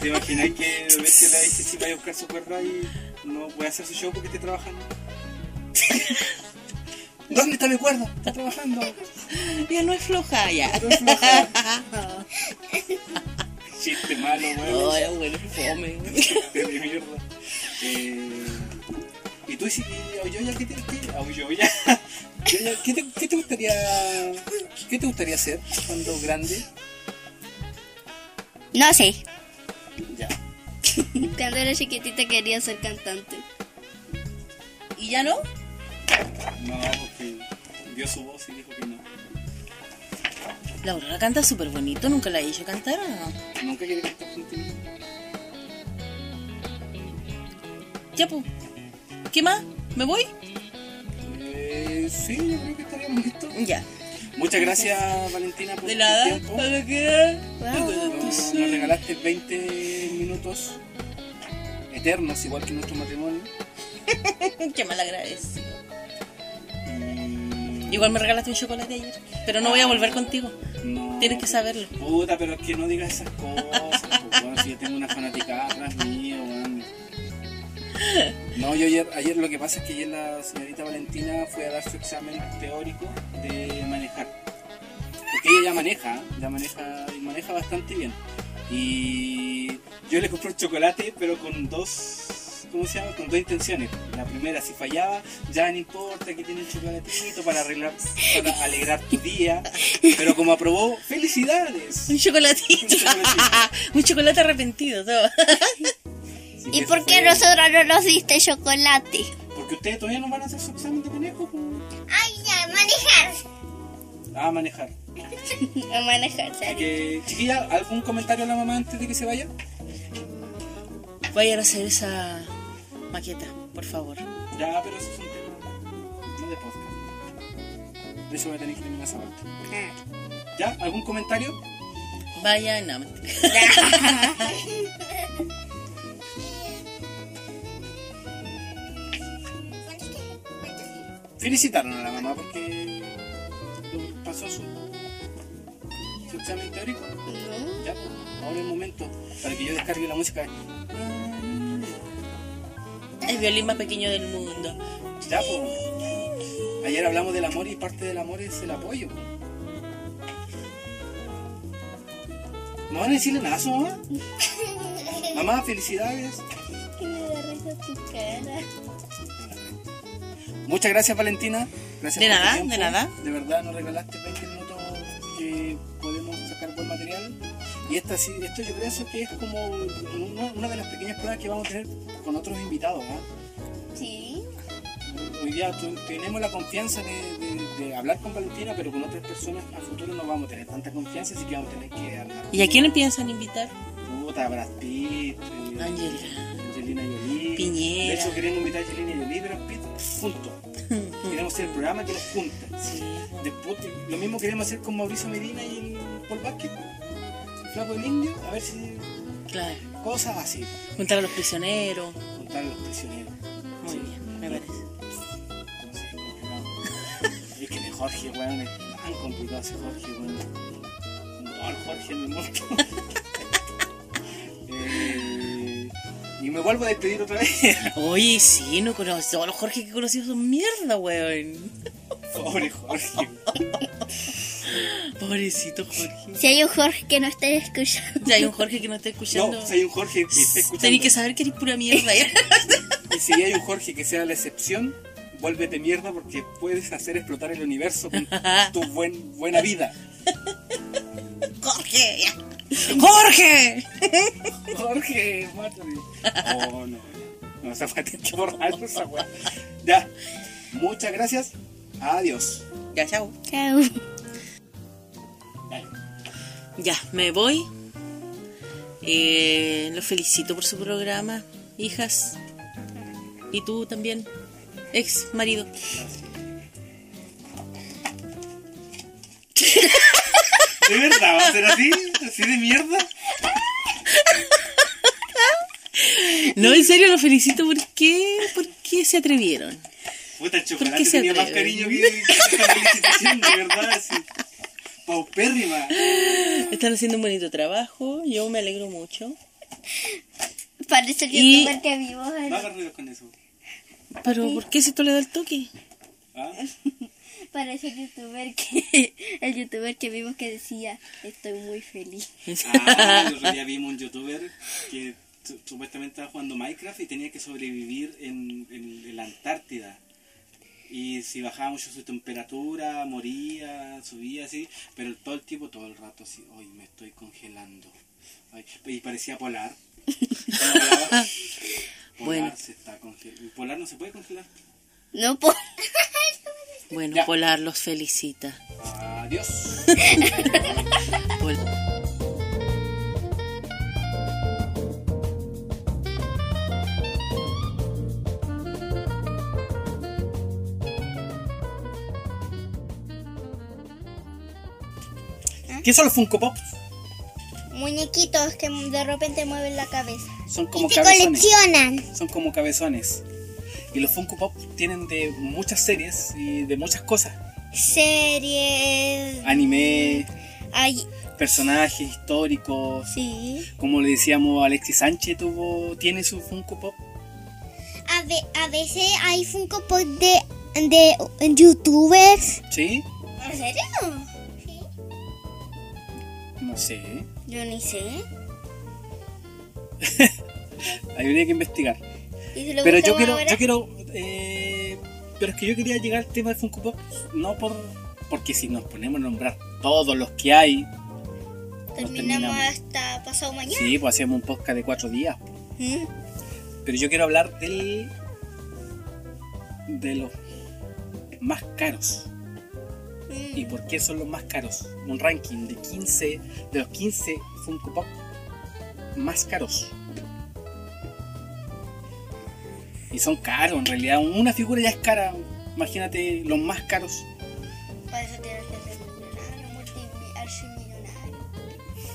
¿Te imaginas que de repente le dice si vaya a buscar su cuerda y no puede hacer su show porque esté trabajando? ¿Dónde está mi cuerda? Está trabajando. ya no es floja, ya. No es floja. Chiste malo, weón. Ay, bueno, fome. De mierda. Eh, ¿Y tú hiciste Oyoya? ¿Qué te, qué, a Oyoya? Oyoya, ¿qué te, qué te gustaría, ¿Qué te gustaría hacer cuando grande? No sé. Ya. Cuando era chiquitita quería ser cantante. ¿Y ya no? No, porque vio su voz y dijo que no. La Aurora canta súper bonito, nunca la he hecho cantar. ¿o no? Nunca quiere cantar contigo. Ya, pues. ¿Qué más? ¿Me voy? Eh, sí, yo creo que estaríamos listos. Ya. Muchas gracias, Valentina, por De tu nada. tiempo. ¿Para qué? Nos, nos regalaste 20 minutos eternos, igual que nuestro matrimonio. Qué mal agradecido. Y- Igual me regalaste un chocolate ayer, pero no voy a volver contigo. No, Tienes que saberlo. Puta, pero es que no digas esas cosas. pues, weón, si yo tengo una fanaticada atrás mía, weón. No, yo ayer, ayer lo que pasa es que ayer la señorita Valentina fue a dar su examen teórico de manejar. Porque ella ya maneja, ya maneja y maneja bastante bien. Y yo le compré un chocolate, pero con dos, ¿cómo se llama? Con dos intenciones. La primera, si fallaba, ya no importa, aquí tiene un chocolatito para arreglar, para alegrar tu día. Pero como aprobó, felicidades. Un chocolatito. un chocolate arrepentido. todo. Así ¿Y que por eso qué fue- nosotros no nos diste chocolate? Porque ustedes todavía no van a hacer su examen de manejo. pues. Ay, ya, manejar. A Ah, manejar. A manejar, Así que, chiquilla, ¿algún comentario a la mamá antes de que se vaya? Vayan a hacer esa maqueta, por favor. Ya, pero eso es un tema. No de podcast. De hecho, voy a tener que eliminar esa parte. ¿Ya? ¿Algún comentario? Vayan a... mentira. Felicitaron a la mamá porque pasó su, su examen teórico. Ya, pues, ahora es el momento para que yo descargue la música. El violín más pequeño del mundo. Ya, pues. Ayer hablamos del amor y parte del amor es el apoyo. po. ¿No van a decirle nada a su mamá? Mamá, felicidades. Que me da risa tu cara. Muchas gracias, Valentina. Gracias De por tu nada, tiempo. de nada. De verdad, nos regalaste 20 minutos que podemos sacar buen material. Y esta, sí- esto yo creo que es como una, una de las pequeñas pruebas que vamos a tener con otros invitados. ¿ah? Sí. Hoy día tu- tenemos la confianza de, de- de hablar con Valentina, pero con otras personas a futuro no vamos a tener tanta confianza, así que vamos a tener que armar ¿Y a quién piensan invitar? puta, Brad Pitt, eh, Ángela. Angelina Jolie. Piñera. De hecho, queremos invitar a Angelina Jolie y Brad Pitt juntos. queremos hacer el programa que los junta. Sí. Después, lo mismo queremos hacer con Mauricio Medina y el Paul Vázquez, el Flaco del Indio, a ver si Claro. cosas así, Juntar a los prisioneros. juntar a los prisioneros. Muy bien, me parece. No sé, complicado. Es que de Jorge, weón, es tan complicado ese Jorge, weón. No, el Jorge me muerto. Eh, y me vuelvo a despedir otra vez. Oye, sí, no conozco. Todos los Jorge que he conocido son mierda, weón. Pobre Jorge. Pobrecito Jorge. Si hay un Jorge que no esté escuchando. Si hay un Jorge que no está escuchando. No, si hay un Jorge que está escuchando. Tenés que saber que eres pura mierda. ¿eh? Y si hay un Jorge que sea la excepción, vuélvete mierda porque puedes hacer explotar el universo con tu buen, buena vida. Jorge. Jorge. Jorge, mátame. Oh, no, ya. no, esa fue que borrar esa weá. Ya. Muchas gracias. Adiós. Ya, chao. Chao. Dale. Ya, me voy. Eh, los felicito por su programa, hijas. Y tú también, ex marido. ¿De verdad va a ser así? ¿Así de mierda? No, en serio, los felicito. ¿Por qué? ¿Por qué se atrevieron? Puta, el ¿Por chocolate qué se tenía más atreven? cariño que que esta felicitación, de verdad, así. Paupérrima. Están haciendo un bonito trabajo. Yo me alegro mucho. Parece el Y- youtuber que vimos en- No hagas ruido con eso. Pero, ¿por qué si tú le das el toque? ¿Ah? Parece el youtuber que el youtuber que vimos que decía estoy muy feliz. Ah, el otro día vimos un youtuber que su- supuestamente estaba jugando Minecraft y tenía que sobrevivir en, en- en la Antártida. Y si bajaba mucho su temperatura, moría, subía así, pero el- todo el tipo, todo el rato así, hoy me estoy congelando. Ay, y parecía polar. polar Bueno. se está congelando. Polar no se puede congelar. No por Bueno, Ya. Polar los felicita. Adiós. Pol- ¿Qué son los Funko Pop? Muñequitos que de repente mueven la cabeza. Son como Y se cabezones. coleccionan. Son como cabezones. Y los Funko Pop tienen de muchas series y de muchas cosas. Series. Anime, Ay, personajes históricos. sí. Como le decíamos, Alexis Sánchez tuvo, tiene su Funko Pop. A, ve- a veces hay Funko Pop de, de youtubers. ¿Sí? ¿En serio? Sí. No sé. yo ni sé. Habría que investigar. Y si lo Pero yo buscamos quiero, ahora- yo quiero, eh, pero es que yo quería llegar al tema del Funko Pop, no por, porque si nos ponemos a nombrar todos los que hay, Terminamos terminamos. hasta pasado mañana. sí, pues hacemos un podcast de cuatro días. ¿Mm? Pero yo quiero hablar del. de los más caros. ¿Y por qué son los más caros? Un ranking de 15. de los 15 Funko Pop más caros. Y son caros, en realidad. Una figura ya es cara. Imagínate los más caros. Para eso tienes que ser millonario, multi- archimillonario.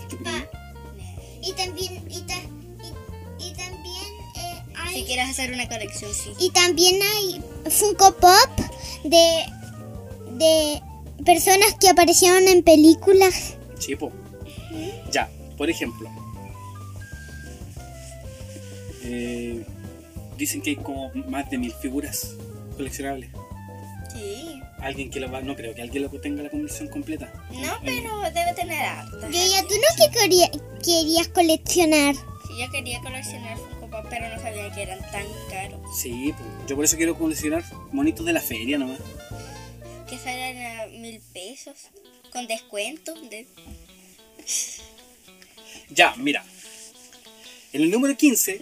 Yo creo. Pa. Ah. Y también, y, ta- y- y también eh, hay. Si quieres hacer una colección, sí. Y también hay Funko Pop de, de personas que aparecieron en películas. Sí, po. Ya, por ejemplo. Eh, dicen que hay como más de mil figuras coleccionables. Sí. Alguien que lo va, no creo que alguien lo tenga la colección completa. No, pero debe tener harta. Yo ya tú no que quería- querías coleccionar. Sí, yo quería coleccionar Funko Pop, pero no sabía que eran tan caros. Sí, po. yo por eso quiero coleccionar monitos de la feria nomás. Que salen a mil pesos. Con descuento. De... Ya, mira. En el número 15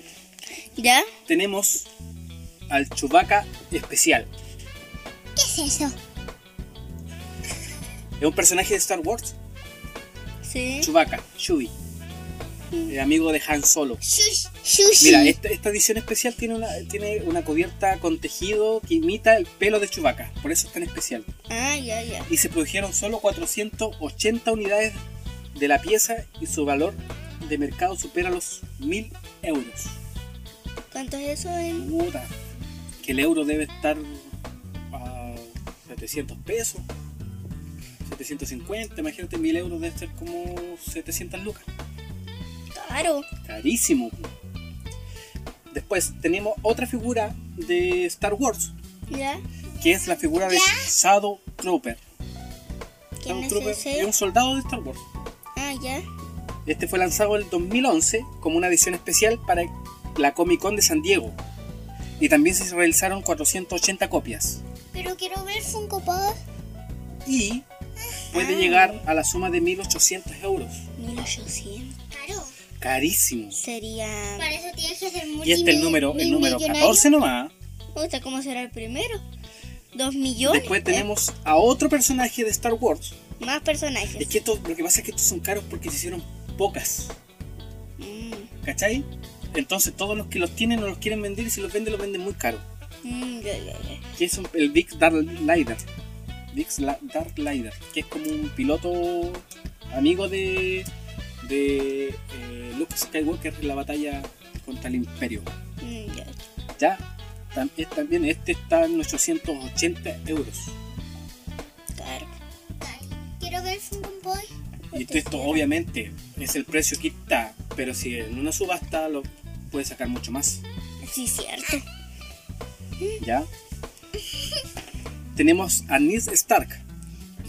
¿Ya? tenemos al Chubaca especial. ¿Qué es eso? Es un personaje de Star Wars, Sí. Chewbacca, Chewie. El amigo de Han Solo. Shush- Sushi. Mira, esta, esta edición especial tiene una, tiene una cubierta con tejido que imita el pelo de Chewbacca, por eso es tan especial. Ah, ya, ya. Y se produjeron solo 480 unidades de la pieza y su valor de mercado supera los 1000 euros. ¿Cuánto es eso en...? Puta, que el euro debe estar a 700 pesos, 750, imagínate 1000 euros debe ser como 700 lucas. Caro. Carísimo. Después tenemos otra figura de Star Wars, ¿Ya? que es la figura de Shadow Trooper. ¿Quién es Stormtrooper ese? es un soldado de Star Wars. Ah, ya. Este fue lanzado el 2011 como una edición especial para la Comic Con de San Diego. Y también se realizaron 480 copias. Pero quiero ver Funko Pop. Y puede llegar a la suma de 1800 euros. 1800. Claro. Carísimo. Sería. Para eso tienes que ser muy Y este es el número, el número 14 nomás. O sea, ¿cómo será el primero? Dos millones. Después Eh, tenemos a otro personaje de Star Wars. Más Es personajes. que esto- lo que pasa es que estos son caros porque se hicieron pocas. Mm, ¿Cachai? Entonces todos los que los tienen no los quieren vender y si los venden los venden muy caro. mm, ya, ya, ya. que es un- el Big Dark Lider. Big Sla- Dark Lider, que es como un piloto amigo de, de eh, Luke Skywalker en la batalla contra el Imperio. Mm, ya. Ya, tam- es también este está en 880 euros. Claro. Quiero ver Funko Pop. Y este esto, esto, obviamente es el precio que está, pero si en una subasta lo puede sacar mucho más. Sí, cierto. Ya. Tenemos a Ned Stark.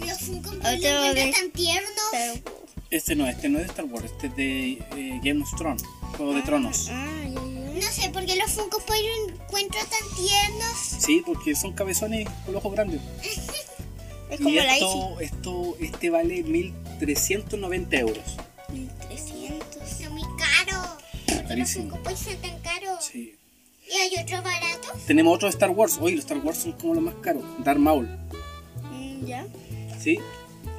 Los Funko Pop Ahorita los va a encuentras ver. tan tiernos. Pero- Este no, este no es de Star Wars, este es de eh, Game of Thrones, Juego de Tronos. Ah, ya, ya. No sé, porque los Funko Pop los encuentro tan ah. tiernos. Sí, porque son cabezones con ojos grandes. Es Y como la ICI. esto, esto, este vale 1.390 euros. 1300. Son muy caros. Porque los Carísimo. Funko Pop son tan caros. Sí. Y hay otros baratos. Tenemos otro de Star Wars. Oye, los Star Wars son como los más caros. Darth Maul. Mm, ya. ¿sí?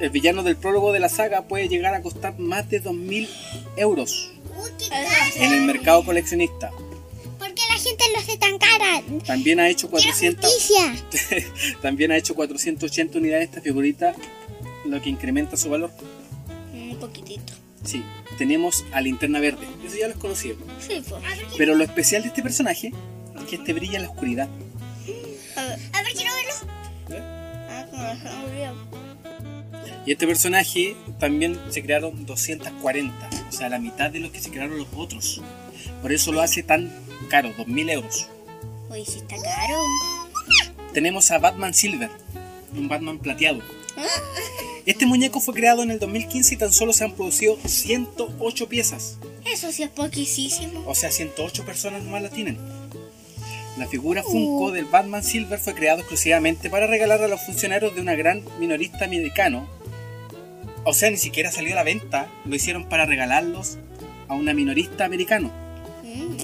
El villano del prólogo de la saga puede llegar a costar más de 2.000 euros Uy, qué Ajá. caro. en el mercado coleccionista. ¿Por qué la gente los hace tan cara? También ha hecho Quiero 400, justicia. también ha hecho 480 unidades esta figurita, lo que incrementa su valor. mm, Un poquitito. Sí, tenemos a Linterna Verde. Eso ya los conocíamos. Sí, pues. A ver, Pero lo especial de este personaje es que este brilla en la oscuridad. A ver. a ver, quiero verlos. Ah, como la sangre. Y este personaje también se crearon 240, o sea, la mitad de los que se crearon los otros. Por eso lo hace tan caro, 2.000 euros. Oye, sí está caro. Tenemos a Batman Silver, un Batman plateado. Este muñeco fue creado en el 2015 y tan solo se han producido 108 piezas. Eso sí es poquísimo. O sea, 108 personas nomás la tienen. La figura Oh. Funko del Batman Silver fue creado exclusivamente para regalar a los funcionarios de una gran minorista americano. O sea, ni siquiera salió a la venta. Lo hicieron para regalarlos a una minorista americano. Mm,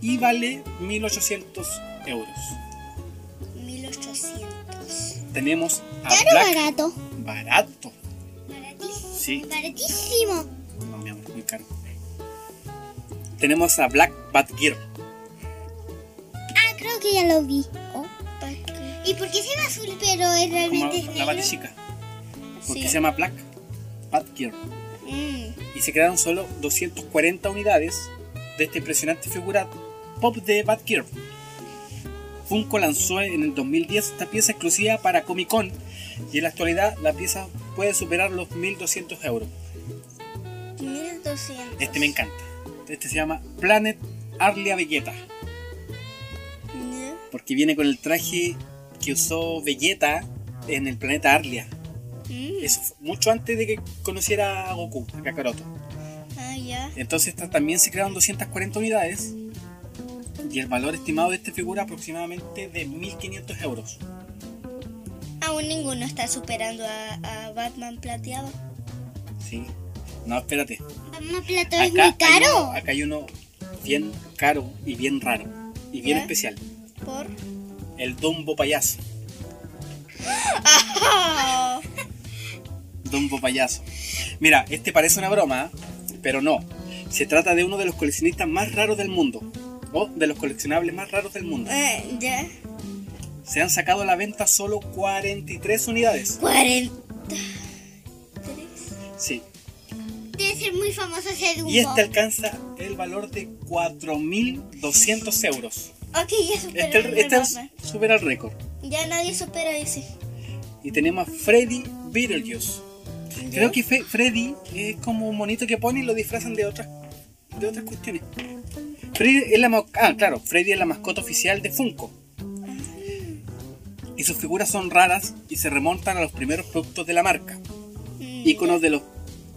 Y vale 1800 euros. 1800. Tenemos a Caro Ah, Black barato. Barato. Baratísimo. Sí. Baratísimo. No, mi amor, muy caro. Tenemos a Black Batgirl. Ah, creo que ya lo vi. Opa, que- ¿Y por qué se ve azul pero es Como realmente es la negro? Batichica. Porque Sí. se llama Black Batgirl. Mm, y se crearon solo 240 unidades de esta impresionante figura pop de Batgirl. Funko lanzó en el 2010 esta pieza exclusiva para Comic Con y en la actualidad la pieza puede superar los 1200 euros. 1200. Este me encanta. Este se llama Planet Arlia Vegeta Ya. porque viene con el traje que usó Vegeta en el planeta Arlia. Mm, Eso fue mucho antes de que conociera a Goku, a Kakaroto. Ah, ya. Entonces estas también se crearon 240 unidades y el valor estimado de esta figura aproximadamente de 1.500 euros. Aún ninguno está superando a, a Batman plateado. Sí. No, espérate. Mamá, plato Acá Ah, es muy Hay caro. uno, acá hay uno bien caro y bien raro y bien ¿Ya? especial. Por. El Dumbo Payaso. ¡Ah! Dumbo Payaso. Mira, este parece una broma, ¿eh? pero no. Se trata de uno de los coleccionistas más raros del mundo. O de los coleccionables más raros del mundo. Eh, ya. Se han sacado a la venta solo 43 unidades. 43. Sí. Debe ser muy famoso ese Dumbo. Y este alcanza el valor de 4.200 euros. Ok, ya superó Este, el de este Batman. supera el récord. Ya nadie supera ese. Y tenemos a Freddy Beetlejuice. Creo que Fe- Freddy es como un monito que pone y lo disfrazan de otras, de otras cuestiones. Freddy es la ma- ah, claro, Freddy es la mascota oficial de Funko. y sus figuras son raras y se remontan a los primeros productos de la marca. Íconos de los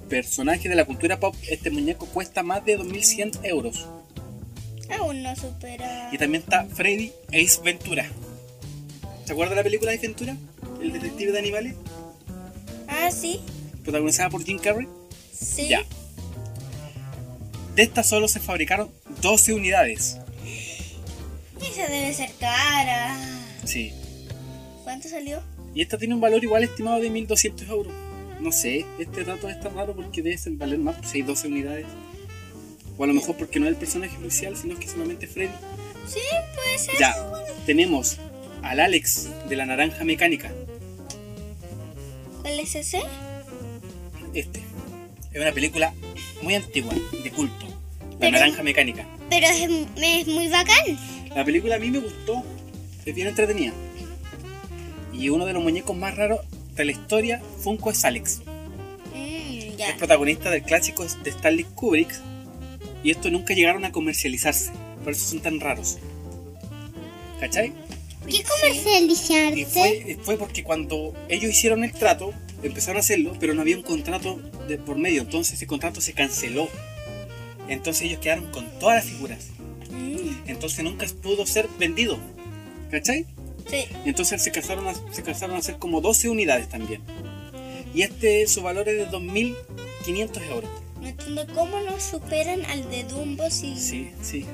personajes de la cultura pop, este muñeco cuesta más de 2.100 euros. mm, Aún no supera. Y también está Freddy Ace Ventura. ¿Se acuerda la película Ace Ventura? El detective de animales, Ah, sí. protagonizada por Jim Carrey. Sí. Ya. De estas solo se fabricaron 12 unidades. Esa debe ser cara. Sí. ¿Cuánto salió? Y esta tiene un valor igual estimado de 1200 euros. No sé, este dato está raro porque debe ser valer más, pues hay 12 unidades. O a lo mejor porque no es el personaje inicial, sino que solamente Freddy. Sí, puede ser. Ya, tenemos al Alex de la naranja mecánica. ¿Cuál es ese? Este. Es una película muy antigua, de culto. La Pero- naranja mecánica. Pero es, es muy bacán. La película a mí me gustó, es bien entretenida. Y uno de los muñecos más raros de la historia, Funko, es Alex. Mm, Es ya. protagonista del clásico de Stanley Kubrick. Y estos nunca llegaron a comercializarse, por eso son tan raros. ¿Cachai? ¿Qué comercializarte? Y fue, fue porque cuando ellos hicieron el trato, empezaron a hacerlo, pero no había un contrato de por medio, entonces ese contrato se canceló. Entonces ellos quedaron con todas las figuras. Mm, Entonces nunca pudo ser vendido. ¿Cachai? sí. Entonces se casaron a, se casaron a hacer como 12 unidades también. Y este, su valor es de 2.500 euros. No entiendo cómo no superan al de Dumbo si. Sí, sí.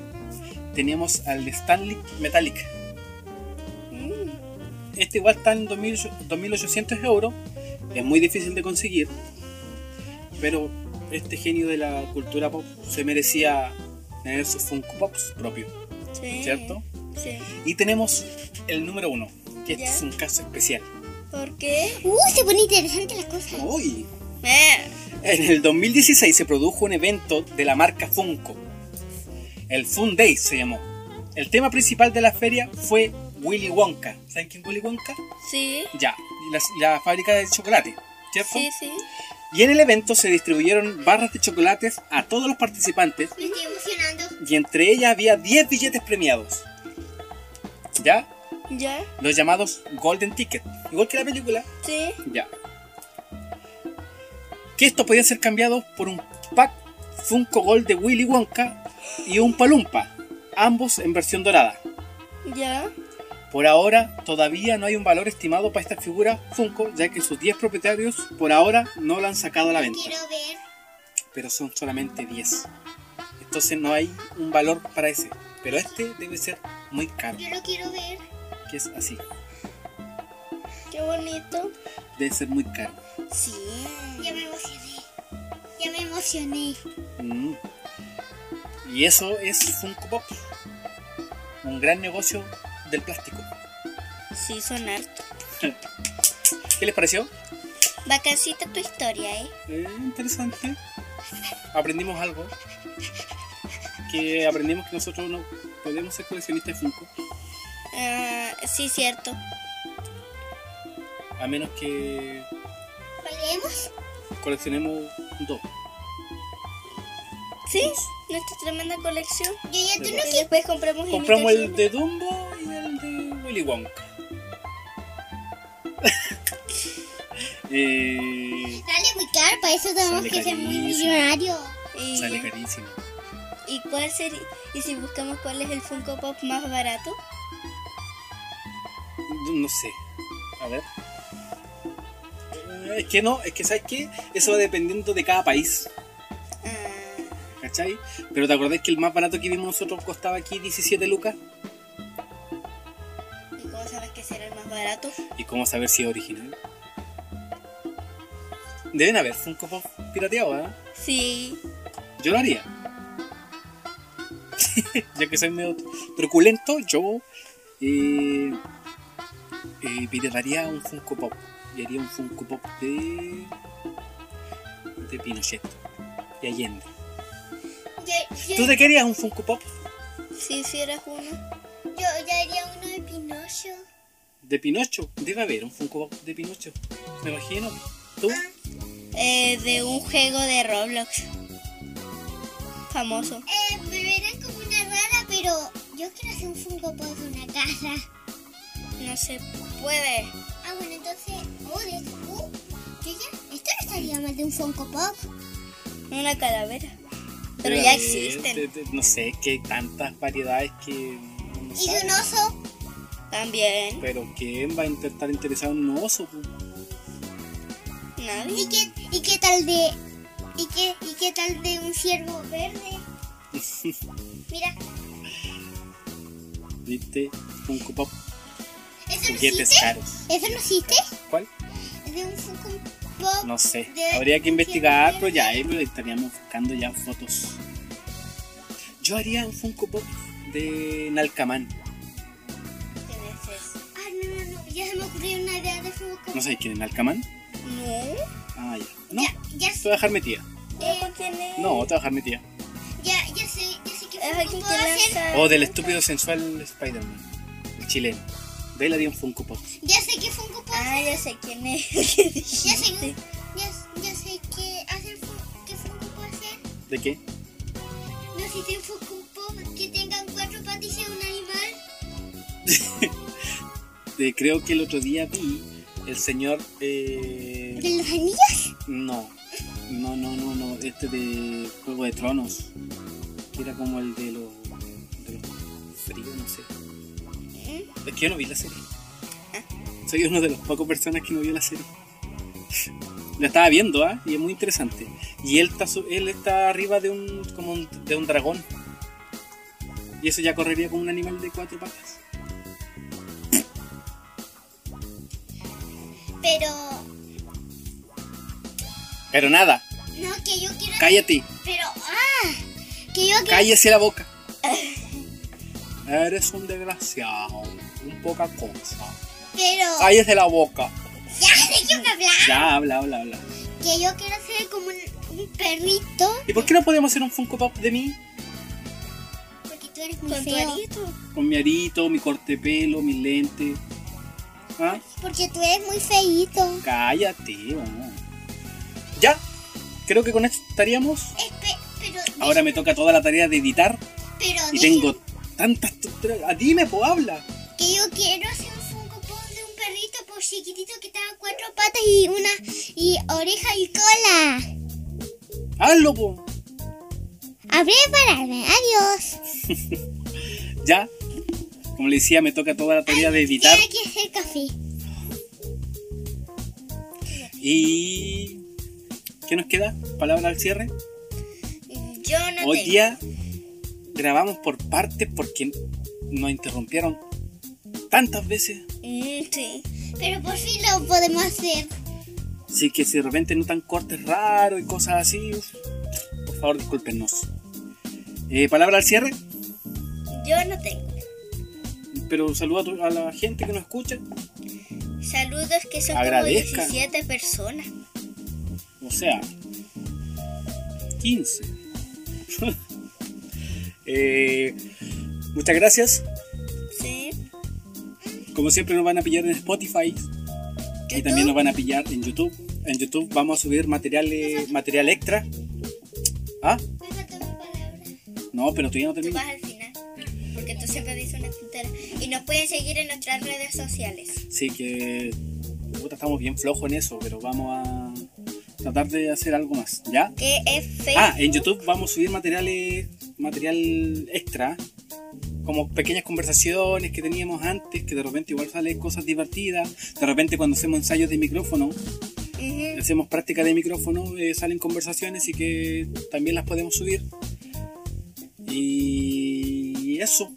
Teníamos al Stanley Metallic. Mm, Este igual está en 2000 2.800 euros. Es muy difícil de conseguir. Pero este genio de la cultura pop se merecía tener sus Funko Pops propios. sí. ¿Cierto? Sí. Y tenemos el número uno, que este ¿Ya? es un caso especial. ¿Por qué? Uh, se pone interesante la cosa. ¡Uy! Eh, En el 2016 se produjo un evento de la marca Funko. El Fun Day se llamó. El tema principal de la feria fue Willy Wonka. ¿Saben quién es Willy Wonka? sí. Ya, y las- la, fábrica de chocolate, ¿cierto? Sí, sí. Y en el evento se distribuyeron barras de chocolates a todos los participantes Me estoy emocionando. y entre ellas había 10 billetes premiados. ¿Ya? Ya. Los llamados Golden Ticket. Igual que la película, Sí. ya. Que estos podían ser cambiados por un pack Funko Gold de Willy Wonka y un Palumpa, ambos en versión dorada. Ya. Por ahora todavía no hay un valor estimado para estas figuras Funko, ya que sus 10 propietarios por ahora no la han sacado a la venta, Quiero ver. pero son solamente 10. Entonces no hay un valor para ese, pero este debe ser muy caro, Yo lo quiero ver. que es así, Qué bonito. debe ser muy caro. Sí. Ya me emocioné. Ya me emocioné. Mm. Y eso es Funko Pop. Un gran negocio del plástico. Sí, son harto. ¿Qué les pareció? Bacancita tu historia, ¿eh? Eh, interesante. Aprendimos algo. Que aprendimos que nosotros no podemos ser coleccionistas de Funko. Ah, sí, cierto. A menos que ¿Volvemos? coleccionemos dos. Sí, nuestra tremenda colección. Yo ya tú no Y después compramos Compramos el imitaciones. de Dumbo y el de Willy Wonka. Eh, Dale muy caro, para eso tenemos Sale que ser muy carísimo. millonarios. Y, sale carísimo. ¿Y cuál sería? ¿Y si buscamos cuál es el Funko Pop más barato? No sé. A ver. Eh, Es que no, es que sabes qué? Eso va dependiendo de cada país. Ah, ¿Cachai? Pero te acordás que el más barato que vimos nosotros costaba aquí 17 lucas. ¿Y cómo sabes que será el más barato? ¿Y cómo saber si es original? Deben haber Funko Pop pirateado, ¿eh? Sí. Yo lo haría. ya que soy medio truculento, yo eh, eh, piratearía un Funko Pop. Y haría un Funko Pop de. de Pinochet. De Allende. Yo, ¿Tú yo, te querías un Funko Pop Si hicieras uno. yo ya haría uno de Pinocho. de Pinocho? Debe haber un Funko Pop de Pinocho. Me imagino. ¿Tú? Ah, Eh, de un juego de Roblox. Famoso. Eh, me verán como una rara, pero yo quiero hacer un Funko Pop de una casa. No se puede. Ah, bueno, entonces. Oh, de uh, yo ya. Esto no estaría mal de un Funko Pop. Una calavera. Pero ya Eh, existen. de- de- no sé, que hay tantas variedades que. uno Y de sabe. un oso. También. Pero ¿quién va a intentar interesar en un oso? pues, po? Nadie. ¿Y qué, y qué tal de. ¿Y qué, y qué tal de un ciervo verde? Mira, ¿Viste? este Funko Pop, ¿eso no juguetes existe? caros. ¿Eso no existe? ¿Cuál? De un Funko Pop. No sé. De- Habría que investigar, pero ya ahí lo estaríamos buscando ya fotos. Yo haría un Funko Pop de Nalcamán. ¿Quién es ese? Ah, no, no, no. Ya se me ocurrió una idea de Funko ¿No sabes quién es Nalcamán? No. Ah, ya. No, Ya, te ya, voy a dejar mi tía. eh, ¿Quién es? No, te voy a dejar mi tía. ya, ya sé, ya sé que Es Funko aquí Pop que va a ser. lanza. O del estúpido sensual Spider-Man, el chileno. De él haría un Funko Pop. Ya sé que Funko Pop. Ah, ya sé quién es. ¿Qué Ya sé, dijiste? ya, ya sé que hacer fu- que Funko Pop hacer. ¿De qué? No existen Funko Pop que tengan cuatro patas y sea un animal. Eh, creo que el otro día vi el señor. eh, ¿De los anillos? No, no, no, no, no. Este de Juego de Tronos. Que era como el de los. de los fríos, no sé. Es que yo no vi la serie. Soy uno de los pocos personas que no vio la serie. La estaba viendo, ¿ah? Y es muy interesante. Y él está, su- él está arriba de un, como un- de un dragón. Y eso ya correría como un animal de cuatro patas. Pero. Pero nada, No, que yo quiero. cállate, Pero. ¡Ah! Que yo quiero. cállese la boca. Eres un desgraciado, un poca cosa. Pero. Cállese la boca. Ya sé que me habla. Ya, habla, habla, habla. Que yo quiero ser como un, un perrito. ¿Y por qué no podemos hacer un Funko Pop de mí? Porque tú eres muy ¿Con tu feo. arito? Con mi arito, mi corte de pelo, mis lentes. ¿Ah? Porque tú eres muy feíto. Cállate, vamos. Ya, creo que con esto estaríamos. Espe- pero. Ahora me toca toda la tarea de editar Pero. y dije- tengo tantas tonteras. Ah, Dime, pues habla. Que yo quiero hacer un Funko Pop de un perrito por chiquitito que tenga cuatro patas y una y oreja y cola. Hazlo, pues. A prepararme, adiós. Ya, como le decía, me toca toda la tarea de editar Tiene que hacer café. y. ¿Qué nos queda? Palabra al cierre. Yo no Hoy tengo. día grabamos por partes porque nos interrumpieron tantas veces. Mm, sí. Pero por fin lo podemos hacer. Así que si de repente notan cortes raros y cosas así, uf, por favor discúlpenos. Eh, palabra al cierre, Yo no tengo. pero un saludo a, tu- a la gente que nos escucha. Saludos que son Agradezca. como 17 personas. O sea, 15. Eh, muchas gracias. Sí. Como siempre nos van a pillar en Spotify y también nos van a pillar en YouTube. En YouTube vamos a subir materiales, material extra. Ah, Me faltó mi palabra. no, pero todavía no Tú termino. vas al final. Porque tú siempre dices una tontera. Y nos pueden seguir en nuestras redes sociales. Sí, que puta, estamos bien flojos en eso, pero vamos a tratar de hacer algo más, ¿ya? Que es Facebook. Ah, en YouTube vamos a subir materiales, material extra, como pequeñas conversaciones que teníamos antes, que de repente igual salen cosas divertidas, de repente cuando hacemos ensayos de micrófono, Ujú. hacemos práctica de micrófono, eh, salen conversaciones y que también las podemos subir. Y eso,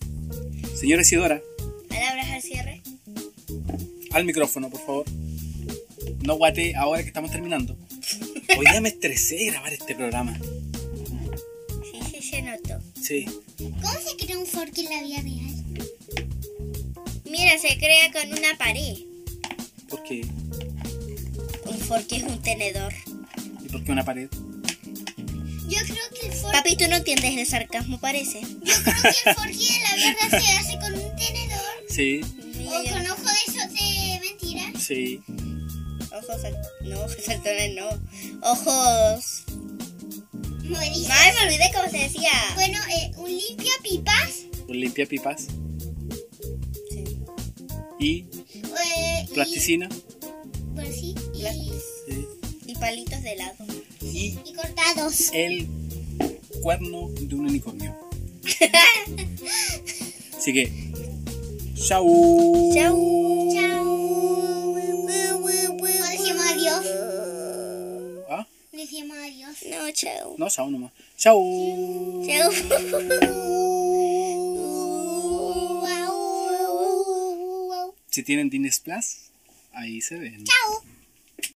señora Isidora, Palabras al cierre. al micrófono, por favor. No guate ahora que estamos terminando. Hoy día me estresé de grabar este programa. Sí, sí, se notó. Sí. ¿Cómo se crea un fork en la vida real? Mira, se crea con una pared. porque Un fork es un tenedor. ¿Y por qué una pared? Yo creo que el fork, Papi, tú no entiendes el sarcasmo, parece. creo que el fork de la vida real se hace con un tenedor Sí, Mira, o yo- con ojo de esos de mentira. sí. Ojos sal- No, ojos saltones no. Ojos. Morir. Ay, me olvidé cómo se decía. eh, Bueno, eh, un limpia pipas Un limpia pipas. Sí. Y Plasticina. Bueno, eh, pues sí, y, sí. Y palitos de helado. Y y cortados. el cuerno de un unicornio. Así que, chau. Chau. O decimos adiós. Ah, Decimos adiós. No, chao. no, chau nomás. Chau. Chao. Guau, guau, guau. Si tienen Disney Plus, ahí se ven. Chao.